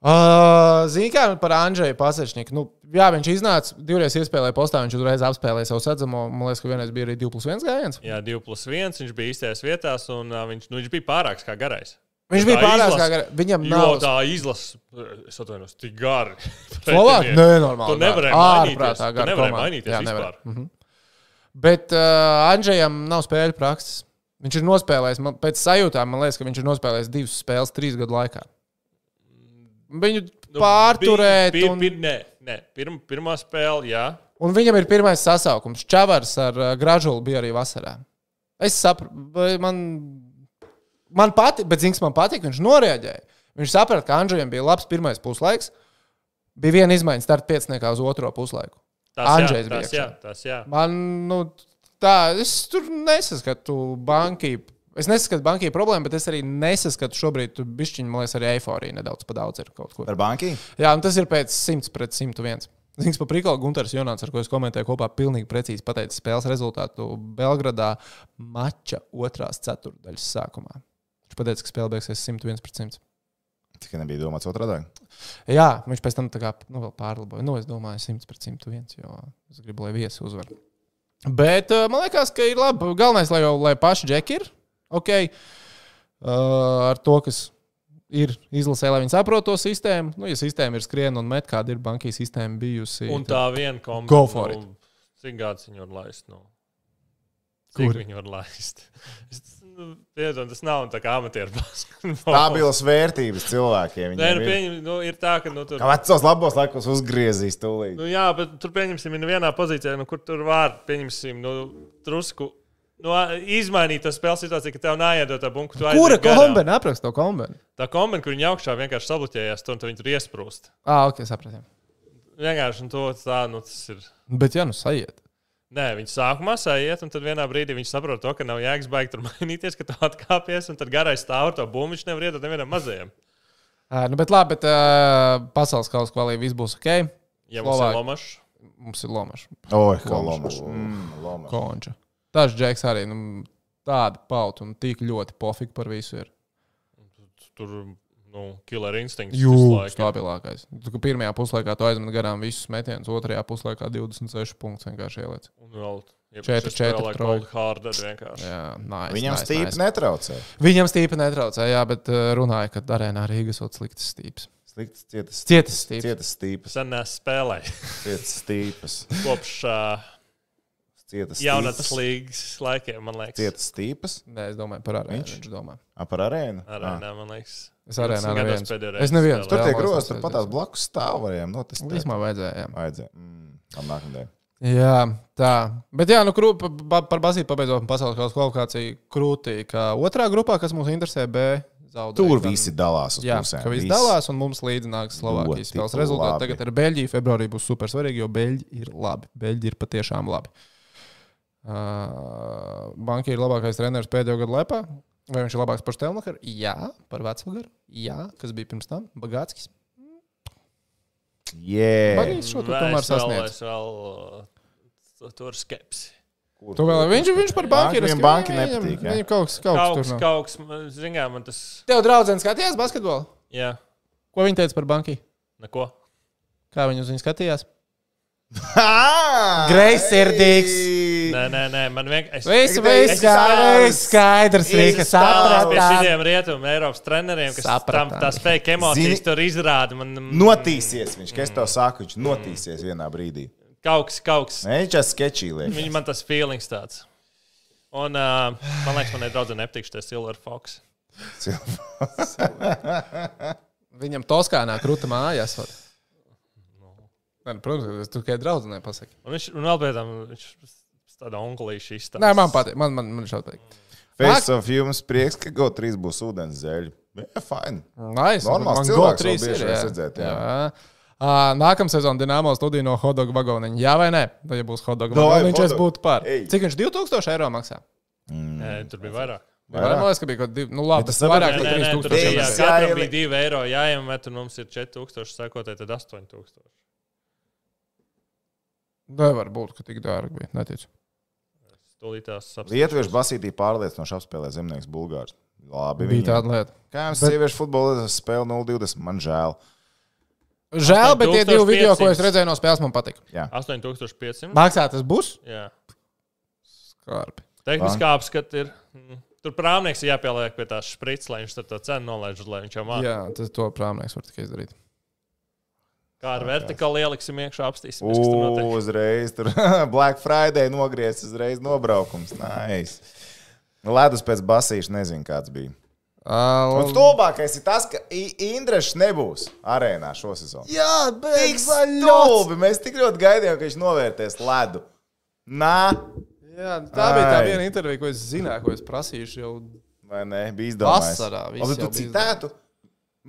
A: Uh, Ziniet, kā par Andrēju Pasečniku. Nu, jā, viņš iznāca, divreiz iespēlēja postā, viņš uzreiz apspēlēja savu sedzamo. Man liekas, ka vienreiz bija arī 2 plus 1 gājiens.
C: Jā, 2 plus 1. Viņš bija īstajās vietās, un uh, viņš, nu, viņš bija pārāks kā garais.
A: Viņš
C: Tā
A: bija pārāk
C: izlase-
A: gari. Viņam
C: Jo
A: nav
C: tā izlasa, es atvainojos, tik gara.
A: Slovākija? Nē, normāli.
C: Tu nevarēji mainīties. Tu
A: gara
C: nevarēji
A: komanda.
C: mainīties
A: Jā,
C: vispār.
A: nevarēja. Mhm. Bet uh, Andrzejam nav spēļu prakses. Viņš ir nospēlējis, man, pēc sajūtām, man liekas, ka viņš ir nospēlējis divas spēles trīs gadu laikā. Viņu nu, pārturēt,
C: bija-
A: un,
C: bija- Nē, nē. Pirm, pirmā spēle, jā.
A: un viņam ir pirmais sasaukums. Čavars ar uh, Gražulu bija arī vasarā. Es saprotu, man, man patīk, bet Zinks man patīk, viņš noreaģēja. Viņš saprata, ka Andrzejam bija labs pirmais puslaiks. Bija viena izmaiņa starta pieciniekā uz otro puslaiku.
C: Tas jā,
A: Andžejs bija
C: tas jā, tas jā.
A: Man, nu, tā, es tur nesaskatu bankai. Es nesaskatu bankai problēmu, bet es arī nesaskatu šobrīd, tur bišķiņ, man liekas, arī eiforija nedaudz pa daudz ir kaut kur.
B: Par banki?
A: Jā, un tas ir pēc 100 pret 101. Zinies, par prikalu Gunārs Jonāns, ar ko es komentēju kopā, pilnīgi precīzi pateica spēles rezultātu Belgradā mača otrās ceturdaļas sākumā. Viņš pateica, ka spēle beigsies 101 pret 100.
B: Tikai nebija domāts otrādi.
A: Jā, viņš pēc tam tā kā, nu, vēl pārlaboja. Nu, es domāju, 100 pret 101, jo es gribu, lai viesi uzvar. Bet eh, man liekas, ka ir labi. Galvenais, lai, jau, lai paši džeki ir ok. Uh, ar Eh, to, kas ir izlasē, lai viņi saprotu to sistēmu. Nu, ja sistēma ir skriena un met, kāda ir banka sistēma bijusi.
C: Un tā viena komanda.
A: Go for it.
C: nu, Cik gadi viņi var laist? Nu?
A: Kur?
C: Cik viņi var laist? Es, nu, pieņem, tas nav tā kā amatieru basketbols.
B: Stabilas vērtības cilvēkiem.
C: Nē,
B: viņiem
C: nu,
B: ir.
C: pieņem, nu, ir tā, ka nu, tur.
B: Kā vecos labos laikos uzgriezīs tūlīt.
C: Nu, jā, bet tur pieņemsim, ir vienā pozīcijā, nu, kur tur var, pieņemsim, nu, drusku nu, izmainīt to spēles situāciju, ka tev nāiedot tā bunku. tu
A: Kura
C: aiziet garām.
A: kombinācija? Aprakst to kombināciju.
C: Tā kombinācija, kur viņa augšā vienkārši sabloķējās, tur un tad viņi tur iesprūst.
A: Ah, ok, sapratām.
C: Vienkārši un to tā, nu, tas ir.
A: Bet, ja nu sajiet,
C: Nē, viņi sākumā sēž, un tad vienā brīdī viņi saprot, to, ka nav jēgas baigt tur mainīties, ka tu atkāpies, un tad garais stāv ar to bumbu, viņš nevar iedot nevienam mazajam.
A: Ā, nu, bet labi, bet uh, pasaules kausa kvalitāte viss būs ok.
C: Ja mums ir
A: Slovāki.
C: lomašs,
A: Mums ir lomaša,
B: Oi, kā
A: Lomašs.
B: lomas. Mm, lomas.
A: konča. Tas džeks arī nu, tāda pauta un tik ļoti pofīgi par visu ir.
C: tur, nu, killer instinkts.
A: Jūtas
C: visu laiku.
A: stabilākais. Tu, ka pirmajā puslaikā tu aizmet garām visus metienus, otrajā puslaikā 26 punktus vienkārši ieliec.
C: Un vēl
A: Četri, četri, troj.
C: Harder vienkārši.
A: Jā, nice,
B: Viņam
A: nice,
B: stīpi
A: nice.
B: netraucē.
A: Viņam stīpa netraucēja, jā, bet ā, runāja, ka arēnā Rīgas vēl sliktas stīpas.
B: Sliktas, cietas,
A: Cietas stīpas.
B: cietas stīpas,
C: Sen nespēlēju
B: cietas stīpas,
C: kopš uh,
B: cietas
C: jaunatnes
B: stīpas,
C: līgas laikiem, man liekas.
B: cietas stīpas,
A: Nē, es domāju par arēnu.
B: Viņš?
A: Viņš domā.
B: Ā, par arēnu. Ah. Ā.
C: Arēnā, man liekas.
A: Es arēnā
C: 20 gados
A: neviens.
C: pēdējo
A: Es
C: reizi
A: neviens.
C: spēlēju.
B: Tur tie
A: Vēlos
B: grozi,
A: atcerēties.
B: tur patās blakus stāvariem. No, tas tā
A: Vismaz vajadzēja. jā.
B: vajadzēja. Mm, tam nākamajai.
A: Jā, tā. Bet, jā, nu, krū, pa, pa- par Basīju pabeidzot, pasaules kausa kvalifikācija krūtī. Kā otrā grupā, kas mums interesē, B zaudēja.
B: Tur
A: gan-
B: visi dalās uz
A: Jā,
B: pusēm.
A: ka viss
B: Visi.
A: dalās, un mums līdzinās Slovākijas
B: Ļoti
A: spēles rezultāti.
B: labi.
A: Tagad ar Beļģiju februārī būs super svarīgi, jo Beļģi ir labi. Beļģi ir patiešām labi. Uh, Banka ir labākais treneris pēdējo gadu laikā. Vai viņš ir labāks par Stelmacheru? Jā, par Vecvagaru. Jā, kas bija pirms tam? Bagātskis.
B: Jē.
A: Bagātskis šo to
C: Vai
A: tomēr
C: es vēl-
A: sasniedz.
C: es vēl, uh, Tur ir skepsi.
B: Kur
A: Tu vēl, viņš, viņš par banku ir.
B: Viņam banki nepatīk. jā.
A: Viņam kaut kas, kaut kas
C: Kaut
A: tur
C: kas,
A: nav.
C: kaut kas, man- zini, kā man tas.
A: Tev draudzene skatījās basketbolu.
C: Jā,
A: Ko viņa teica par banku?
C: neko.
A: Kā viņa uz viņu skatījās?
B: Ā!
A: Greizsirdīgs.
B: Ei!
C: Nē, nē, nē man vienkārši.
A: Viss
B: Es-
A: bija
B: es-
A: skaidrs, Rīka
C: Tas bija
A: saprata.
C: šiem rietumu Eiropas treneriem, kas
A: Sapratām.
C: tam tās fake emocijas
B: Zini- Nu-
C: tur izrāda. Man, mm,
B: Notīsies viņš, ka es tev saku, viņš notīsies vienā brīdī.
C: Kaut kas, kaut kas.
B: Nē, viņš ir sketčī
C: Viņi
B: liekas.
C: man tas feelings tāds. Un uh, man liekas, man ir daudz nepatīk šis Silver Fox.
A: Viņam Toskānā krūta mājās. var. Nē, nu, Protams, es tikai draudzenei pasaku.
C: Un viņš, un vēl pēc tam, viņš tāda onkulīša izstāsta.
A: Nē, man patīk. Man, man, man šādi patīk.
B: Face of jums prieks, ka GO 3 būs ūdens zēļi. Jā, fine.
A: Nice,
B: Normāls
A: man
B: cilvēks
A: go trīs
B: vēl bieži
A: ir,
B: var
A: jā.
B: redzēt, jā.
A: Ā, Nākamā sezona Dienāmo studija no Hodoga vagoniņa. Jā, vai nē? Vai ja būs Hodoga
B: Davai,
A: vagoniņš, es
B: hot dog.
A: būtu par.
B: Ej.
A: Cik viņš 2000 eiro maksā?
C: Nē, tur bija vairāk.
A: Vai
B: Vairāk?
A: man liekas, ka bija kaut kāda, nu labi,
B: Bet
A: tas
B: tas
C: Nē,
A: vairāk
B: saprati,
C: nē,
A: par
C: nē, tur
A: 3000
B: tieši
C: bija
A: eiro.
B: jā.
C: katram bija 2 eiro jāiemet, un mums ir 4000, sakot, tad 8000.
A: Nevar būt, ka tik dārgi bija. Neticu.
C: Stulītās apstākļos.
B: Lietuviešu basītī pārliecinoši apspēlē zemnieks Bulgārs. Labi,
A: Bija
B: viņi.
A: tāda lieta.
B: Kā jums
A: Bet-
B: sieviešu futbolā spēle 0-20? Man žēl.
A: Žēl, bet tie divi
C: 8500.
A: video, ko es redzēju no spēles, man patika.
C: 8500.
A: Maksā tas būs?
C: Jā.
A: Skarbi.
C: Tehniskā apskata ir. mm, Tur prāmnieks ir jāpieliek pie tās sprites, lai viņš tur to cenu nolaiž, lai viņš jau mācītu.
A: Jā, tas to prāmnieks var tikai izdarīt.
C: Kā ar vertikāli ieliksim iekšā apstīsim. kas tur notiek.
B: Uzreiz tur Black Friday nogriezts, uzreiz nobraukums. Nice. Nu, Ledus pēc basīšu nezinu, kāds bija.
A: Ā,
B: Un stulbākais ir tas, ka I- Indrešs nebūs arēnā šo sezonu.
A: Jā,
B: Tik stulbi! Mēs tik ļoti gaidījām, ka viņš novērtēs ledu. Nā,
A: Jā, tā bija tā
B: Ai.
A: viena intervija, ko es zināju, ko es prasīju jau.
B: vai ne? Bija izdomāts.
A: Vasarā viss
B: Labi,
A: jau
B: tu
A: bija
B: citētu.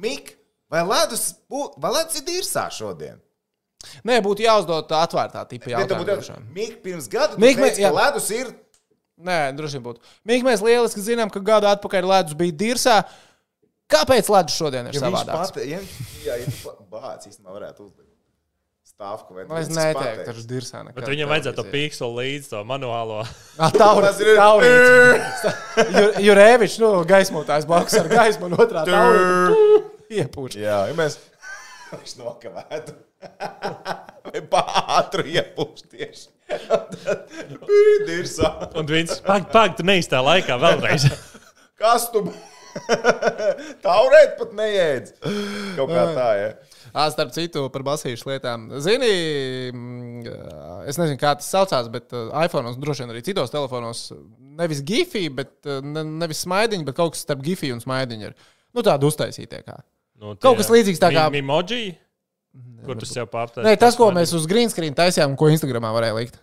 B: Mik, vai ledus, bū- vai ledus ir dirsā šodien?
A: Nē, būtu jāuzdod tā atvērtā tipa
B: Ja tu būtu
A: jautājums.
B: jautājums, Mik, pirms gada tu
A: Mik,
B: teici,
A: jā.
B: ka ledus ir
A: Nē, droši vien būtu. Mīgi, mēs lieliski zinām, ka gadu atpakaļ ledus bija dirsā. Kāpēc ledus šodien ir
B: Ja viņš
A: savādāks?
B: pati, ja viņš jā, ja tu pa- bāc, īstenībā varētu uzlikt stāvku vai
A: Nu, Es neteiktu, ka tas ir dirsā.
C: Bet viņam vajadzēja to pīkseli līdz to manuālo.
B: Tas ir
A: Taurīts. Jurēvičs, nu, gaismotājs blakus ar gaismu, un otrā taurīts. Iepūš.
B: Jā, ja mēs viņš nokavētu. Vai pātri iepūš tieši. Pīdirsā.
C: Un viņš pagaidi, pag, tu neiztā laikā vēlreiz.
B: Kas tu? b- Taurēt pat neēdz. Kaut kā tā, ja.
A: Ā, Starp citu, par basīšu lietām. Zini, mm, es nezinu, kā tas saucās, bet uh, iPhone, un droši vien arī citos telefonos, nevis gifī, bet uh, ne- nevis smaidiņa, bet kaut kas starp gifī un smaidiņa ir. Nu, tāda uztaisītā kā.
C: Nu,
A: Kaut
C: tie
A: kas līdzīgs tā kā-
C: mi- Mimoji, kur tas jau pārtaisa.
A: Nē, tas, ko mēs uz green screen taisījām, un ko Instagramā varēja likt.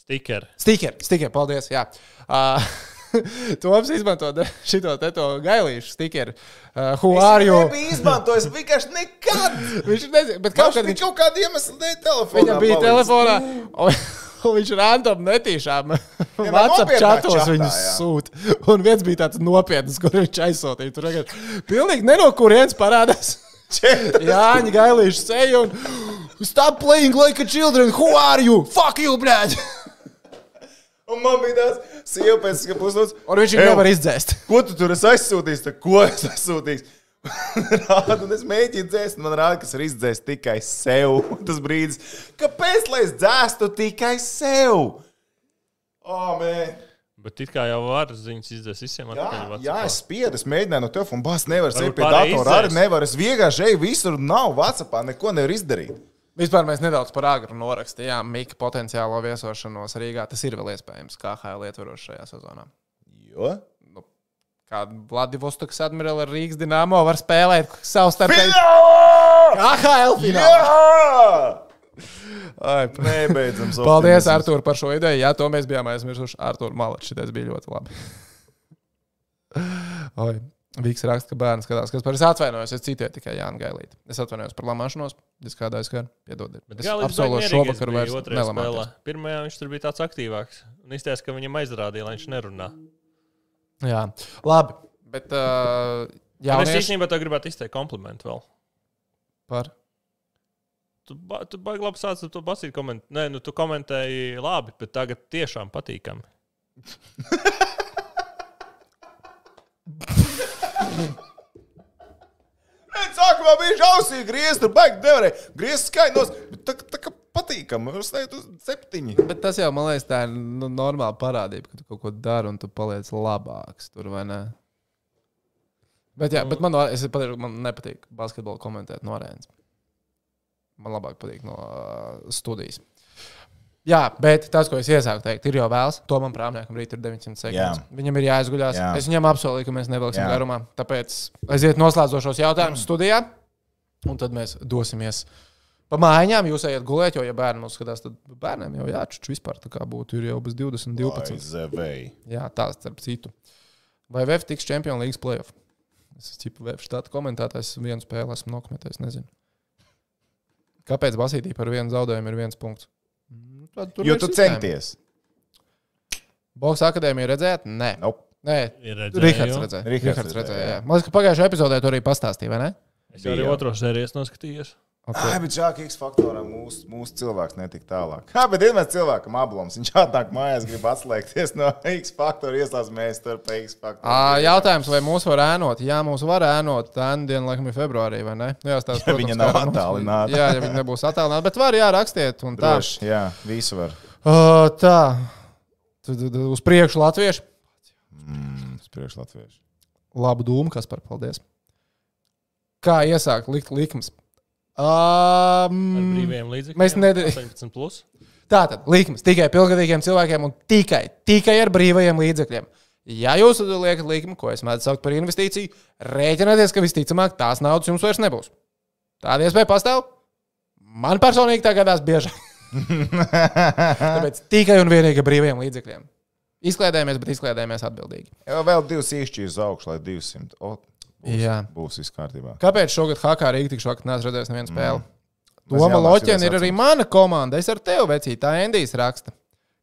C: Stikeri.
A: Stikeri, stikeri, paldies. Jā. Uh, Toms izmanto de- šito te to gailīšu stikeri. Uh, who are you?
B: Nebija izmantojis vienkārši nekad.
A: Viņš nezina, bet
B: Kaut
A: kaut kad
B: bija
A: viņš
B: kaut kāda iemesla dēļ telefonā.
A: Viņam bija telefonā, un un viņš random netīšām WhatsApp
B: nopietnā
A: čatos
B: čatā,
A: viņus
B: jā.
A: sūta. Un viens bija tāds nopietns, kur viņš aizsūtīja. Tur vienkārši pilnīgi ne no kurienes parādās. Jāņa gailīšu seju un stop playing like a children, who are you? Fuck you, blēģi!
B: Un man bija tāds sievietes, ka puslods.
A: Un viņš
B: "Ew,
A: viņu nevar izdzēst.
B: Ko tu tur esi aizsūtījis? Tā, ko es aizsūtīju? Rādu, un es mēģinu dzēst, un man rāda, kas ir izdzēst tikai sev. Tas brīdis, kāpēc lai es dzēstu tikai sev? Oh, man.
C: Bet it kā jau var ziņas izdzēs visiem
B: Jā,
C: atpakaļ.
B: jā,
C: WhatsAppā.
B: es spiedu, es mēģināju no telefona. Bāz, nevaru sēžot pie datora.
C: pārēj
B: Arī
C: izdzēst.
B: nevaru. Es vienkārši eju visur, nav Vācijā, neko nevaru izdarīt.
A: Vispār mēs nedaudz par agru norakstījām Mika potenciālo viesošanos Rīgā. Tas ir vēl iespējams, kā HL ietvaros šajā sezonā.
B: Jo?
A: Kā Vladivostokas admirāli ar Rīgas dīnāmo var spēlēt savstarpēji.
B: Jā!
A: AHL finālā.
B: Jā!
A: Ai, p-
B: Nebeidzams.
A: Paldies,
B: optimisms.
A: Artur, par šo ideju. Jā, to mēs bijām aizmirsuši. Artur, malači, tas bija ļoti labi. Ai, Vīks raksta, ka bērns skatās, kas par es atvainojos. Es citēju tikai Jānu Gailīti. Es atvainojos par lamāšanos. Es kādā aizskāru, piedodiet.
C: Bet
A: Es
C: Gālis
A: absolūti
C: baigi mierīgais
A: šovakar
C: bija
A: vairs
C: otrajā spēlē.
A: nelamāju.
C: Pirmajā viņš tur bija tāds aktīvāks. Un izties, ka viņam aizrādīja, lai viņš nerunā.
A: Jā, labi. Bet uh,
C: Jā,
A: jā,
C: es īstenībā tev gribētu izteikt komplimentu vēl.
A: par.
C: Tu, ba tu baigi labi sāc ar to basīt komentēt. Nē, nu tu komentēji labi, bet tagad tiešām patīkami.
B: Nē, Sākumā bija žausmīgi griezt, tur baigi nevarēja. Griezt skainos, bet tā, tā kā patīkami. Es teicu, septiņi.
A: Bet tas jau man liekas, tā ir nu, normāla parādība, ka tu kaut ko dari un tu paliec labāks. Tur, vai ne? bet, jā, bet man, no- es pat, man nepatīk basketbolu komentēt no arēnas. Man labāk patīk no uh, studijas. Jā, bet tas, ko es iesāku teikt, ir jau vēls. To man prāmniekam rīt ir 900 sekundes.
B: Jā.
A: Viņam ir jāizguļās. Jā.
B: Jā.
A: Es viņam apsolīju, ka mēs nevilksim
B: Jā.
A: garumā. Tāpēc aiziet noslēdzošos jautājumus studijā, un tad mēs dosimies Pa mājām jūs ejat gulēt, jo, ja bērni mums skatās, tad bērniem jau jāčuču vispār tā kā būtu. Ir jau bez 20, 12.
B: Aizevēji.
A: Jā, tā starp citu. Vai VF tiks Champions League playoff? Es esmu VF štata komentētājs, es vienu spēli esmu nokomentējis, nezinu. Kāpēc Basītī par vienu zaudējumu ir viens punkts? Nu, tad tur
B: Jo
A: ir
B: tu
A: sistēma.
B: centies.
A: Boks akadēmija redzēt? Nē.
B: Nope.
A: Nē.
C: Ir
A: Rihards redzēja.
B: Rihards
A: Rihards
B: redzēja,
A: redzēja.
B: jā.
A: jā. Man liekas, ka pagājušajā epizodē tu arī pastāstīji, vai ne?
C: Es jau arī
B: Bija.
C: otro sērijas noskatījos.
A: Okay.
B: Ai, bet žāk, X faktorā mūsu mūs cilvēks netika tālāk. Jā, bet vienmēr cilvēkam ablams. Viņš atnāk mājās, grib atslēgties no X faktora, iesaistās mēs tur pa X
A: Ā,
B: faktoru.
A: Jautājums, vai mūs var ēnot? Jā, mūs var ēnot. Tā nu diena, laikam, ir februārī, vai ne? Nu, jā, tas
B: Ja viņa nav attālināta.
A: Jā, ja viņa nebūs attālināta, bet var, jā, rakstiet. un Tā.
B: Droši, jā, visu var.
A: Uh, tā. Tad, tad, tad Uz priekšu latviešu.
B: Mm, es priekš latviešu.
A: Labu dūmu, kas par paldies. Kā iesākt likt likmes? Um,
C: Ar brīviem līdzekļiem.
A: Mēs nedar-
C: 18. Plus.
A: Tā tad likmes tikai pilngadīgiem cilvēkiem un tikai, tikai ar brīvajiem līdzekļiem. Ja jūs liekat likumu, ko es mēdzu saukt par investīciju, rēķinieties, ka visticamāk tās naudas jums vairs nebūs. Tāda iespēja pastāv. Man personīgi tā gadās biežāk. Tāpēc tikai un vienīgi ar brīvajiem līdzekļiem. Izklaidējamies, bet izklaidējamies atbildīgi.
B: Jā, vēl divas īšķīs uz augšu, lai 200. O, būs,
A: Jā.
B: būs viss kārtībā.
A: Kāpēc šogad Hakā Rīgā tik šokā neesmu redzējis nevienu spēli? Mm.
B: Mēs
A: Doma
B: Jānis
A: Loķena
B: šodien
A: ir arī mana komanda. Es ar tevi vecīju, tā Endijas raksta.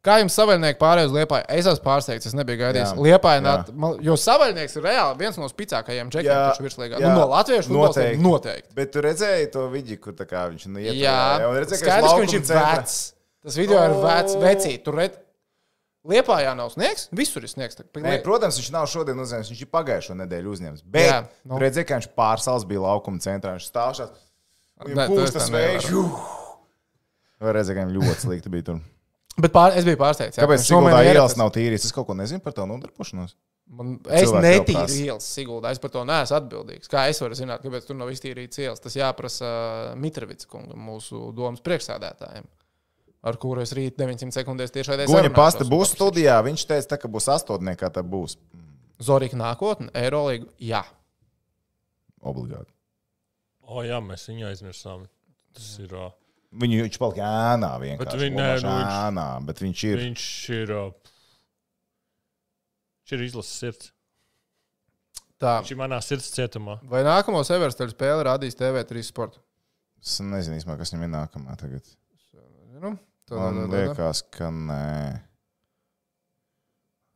A: Kā jums savaļnieks pārējais uz Liepāju? Es esmu pārsteigts, es nebiju gaidījis.
B: Jā,
A: Liepāja,
B: jā.
A: nāt- mal- jo savaļnieks ir reāli viens no spēcīgākajiem džekiem,
B: Jā,
A: kurš virslīgā.
B: jā,
A: Nu, no latviešu noteikti.
B: noteikti.
A: noteikti.
B: Bet tu redzēji to vidi, kur tā kā viņš nu iet.
A: Jā,
B: un redzēji, ka
A: skaidrs, ka viņš ir
B: vērts.
A: vecs. Tas video
B: Oh.
A: ir vecs,
B: O.
A: vecī. Tur redz, Liepājā nav sniegs, visur ir sniegs. Tā-
B: Nē, protams, viņš nav šodien uzņēmis, viņš ir pagājušo nedēļu uzņēmis. Bet
A: Jā,
B: jā,
A: nu.
B: no. redzēji, ka viņš pārsals bija laukuma centrā. Viņš stāvšās.
A: Nē,
B: Viņam
A: to es
B: pūst
A: tā
B: tas
A: nevaru.
B: vējš. Vai redzēji, ka viņam ļoti slikti bija tur.
A: Bet pār, es biju pārsteigts. jā.
B: Kāpēc
A: Viņš nomēra
B: Sigultā ielas
A: ierastas.
B: nav tīrītas? Es kaut ko nezinu par tavu nodarbošanos.
A: Man, es
B: Cilvēki
A: netīru
B: elpās.
A: ielas, Sigūda. Es par to neesmu atbildīgs. Kā es varu zināt, kāpēc tur nav iztīrīts ielas? Tas jāprasa Mitrovic kungam, mūsu domas priekšsēdētājiem, ar kuru es rīt 900 sekundēs tiešai daļai.
B: Guņa pasta būs studijā. Viņš teica, tā, ka būs astotniekā, tā būs
A: Zorika nākotne, Eirolīga. Jā,
B: obligāti.
C: O, jā, mēs viņu aizmirsām. Tas ir. ā,
B: Viņu viņš palika ēnā vienkārši.
C: viņi- nē,
B: Lomašs
C: nu, viņš-
B: ēnā, bet viņš ir.
C: Viņš ir. ā, Viņš ir izlases sirds.
A: tā.
C: Viņš ir manā sirds cietumā.
A: Vai nākamo Eversteļu spēli radīs TV3 sports?
B: Es nezinu īstenībā, kas viņam ir nākamā tagad.
A: Nu,
B: Man liekas, ka nē.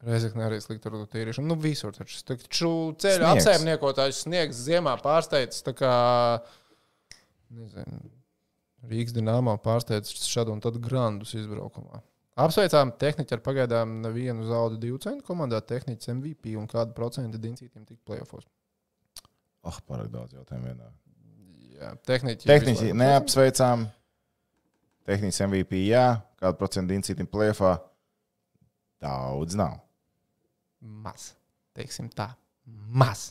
A: Reizekne arī slikti ar to tīrīšanu. Nu, visur taču. Taču ceļu
B: Sniegs.
A: apsaimniekotājs sniegs ziemā pārsteidz. tā Kā, nezinu, Rīgas dīnāmā pārsteidz šādu un tad grandus izbraukumā. Apsveicām tehniku ar pagaidām nevienu zaudu divu centu komandā, tehnikas MVP un kādu procentu dincītiem tik plēsofos.
B: Ah, pārāk daudz jautājumu vienā.
A: Jā, tehniķi.
B: Tehniski neapsveicām. Tehniski MVP, jā. Kādu procentu incītam plēfā? Daudz nav.
A: Maz. Teiksim tā, maz.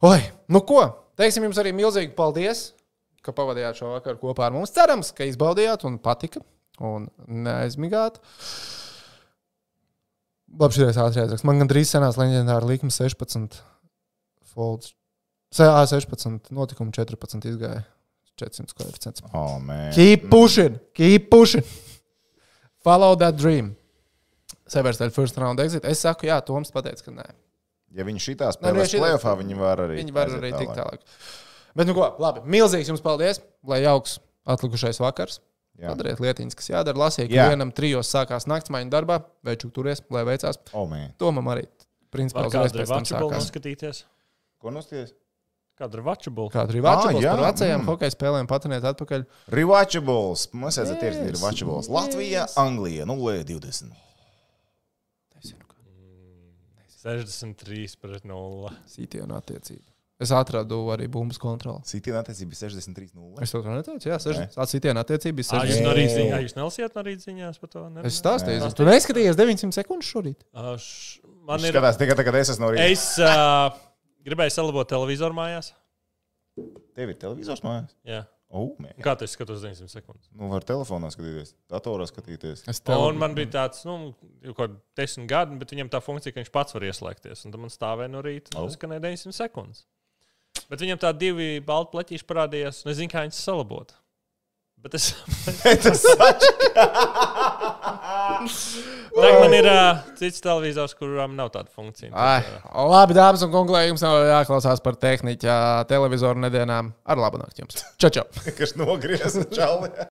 A: Oi, nu ko? Teiksim jums arī milzīgi paldies, ka pavadījāt šo vakaru kopā ar mums. Cerams, ka izbaudījāt un patika un neaizmigāt. Labi, šis ir ātrāks. Man gandrīz senās leģendāra likme 16. Folds. CA 16, notikuma 14 izgāja 400 koeficients.
B: Oh, man.
A: Keep pushing, keep pushing. Follow that dream. Severstaļ first round exit. Es saku, jā, Toms pateica, ka nē.
B: Ja viņi šitā
A: nu, ja
B: spēlē
A: šitā-
B: plēfā, viņi var arī.
A: Viņi var
B: aiziet
A: arī
B: tālāk.
A: tikt tālāk. Bet, nu, ko, labi. Milzīgs jums paldies. Lai jauks atlikušais vakars.
B: Jā.
A: Padariet lietiņas, kas jādara. Lasīju, ka
B: Jā.
A: vienam trijos sākās naktsmaiņa darbā. Veicu, turies, lai veicās.
B: Oh, man.
A: Tomam arī, principā,
C: Vai
A: uzreiz
C: Kādu
A: pēc tam
C: rīvaču būlu
A: sākās.
C: noskatīties?
B: Ko nostāties?
C: Kādu rīvaču būlu?
A: Kādu rivāču
B: Ā,
A: būs
B: jā,
A: par vecajām
B: mm.
A: mm. hokeja spēlēm patiniet atpakaļ.
B: Rewatchables. Mums aizsaka, yes, ir
A: Yes,
B: rewatchables.
A: yes.
B: Latvija, Anglija 0,20.
C: 63 pret 0.
A: Sītienu attiecību. Es atradu arī bumbas kontroli.
B: Sitienā attiecība bija 63,0.
A: Es to neteicu, jā, seši- sītienu attiecība bija
C: Ā,
A: 60.
C: jūs
B: Ai,
C: no
B: Nē.
C: rītdienā, jūs nelasiet no rītdienās par to? nerunājāt?
A: Es stāstīju, tu neskatījies 900 sekundes šorīt.
C: Ā, š-
B: Man
C: Man
B: ir
C: ir.
B: skatās tikai tagad, kad es esmu no rīta.
C: Es uh, gribēju salabot televizoru mājās.
B: Tev ir televizors mājās?
C: Jā.
B: Oh, man.
C: Un Kā tu skatos 900 sekundes?
B: Nu, var telefonā skatīties, datorā skatīties.
A: Es
C: Tev... Un man bija tāds, nu, jau kaut kāds desmit gadi, bet viņam tā funkcija, ka viņš pats var ieslēgties. Un tad man stāvēja no rīta,
B: Au.
C: un tas skanēja 900 sekundes. Bet viņam tā divi balti pleķīši parādījās, un es zinu, kā viņas salabot. Bet es
B: Tas taču
C: domāju, man ir uh, cits televizors, kurām nav tāda funkcija.
A: Ai, labi, dāmas un kungi, lai jums nav jāklausās par tehniku, televizoru nedēļām. Ar labu nakti jums! Čau! čau.
B: vienkārši nogriezis čauli.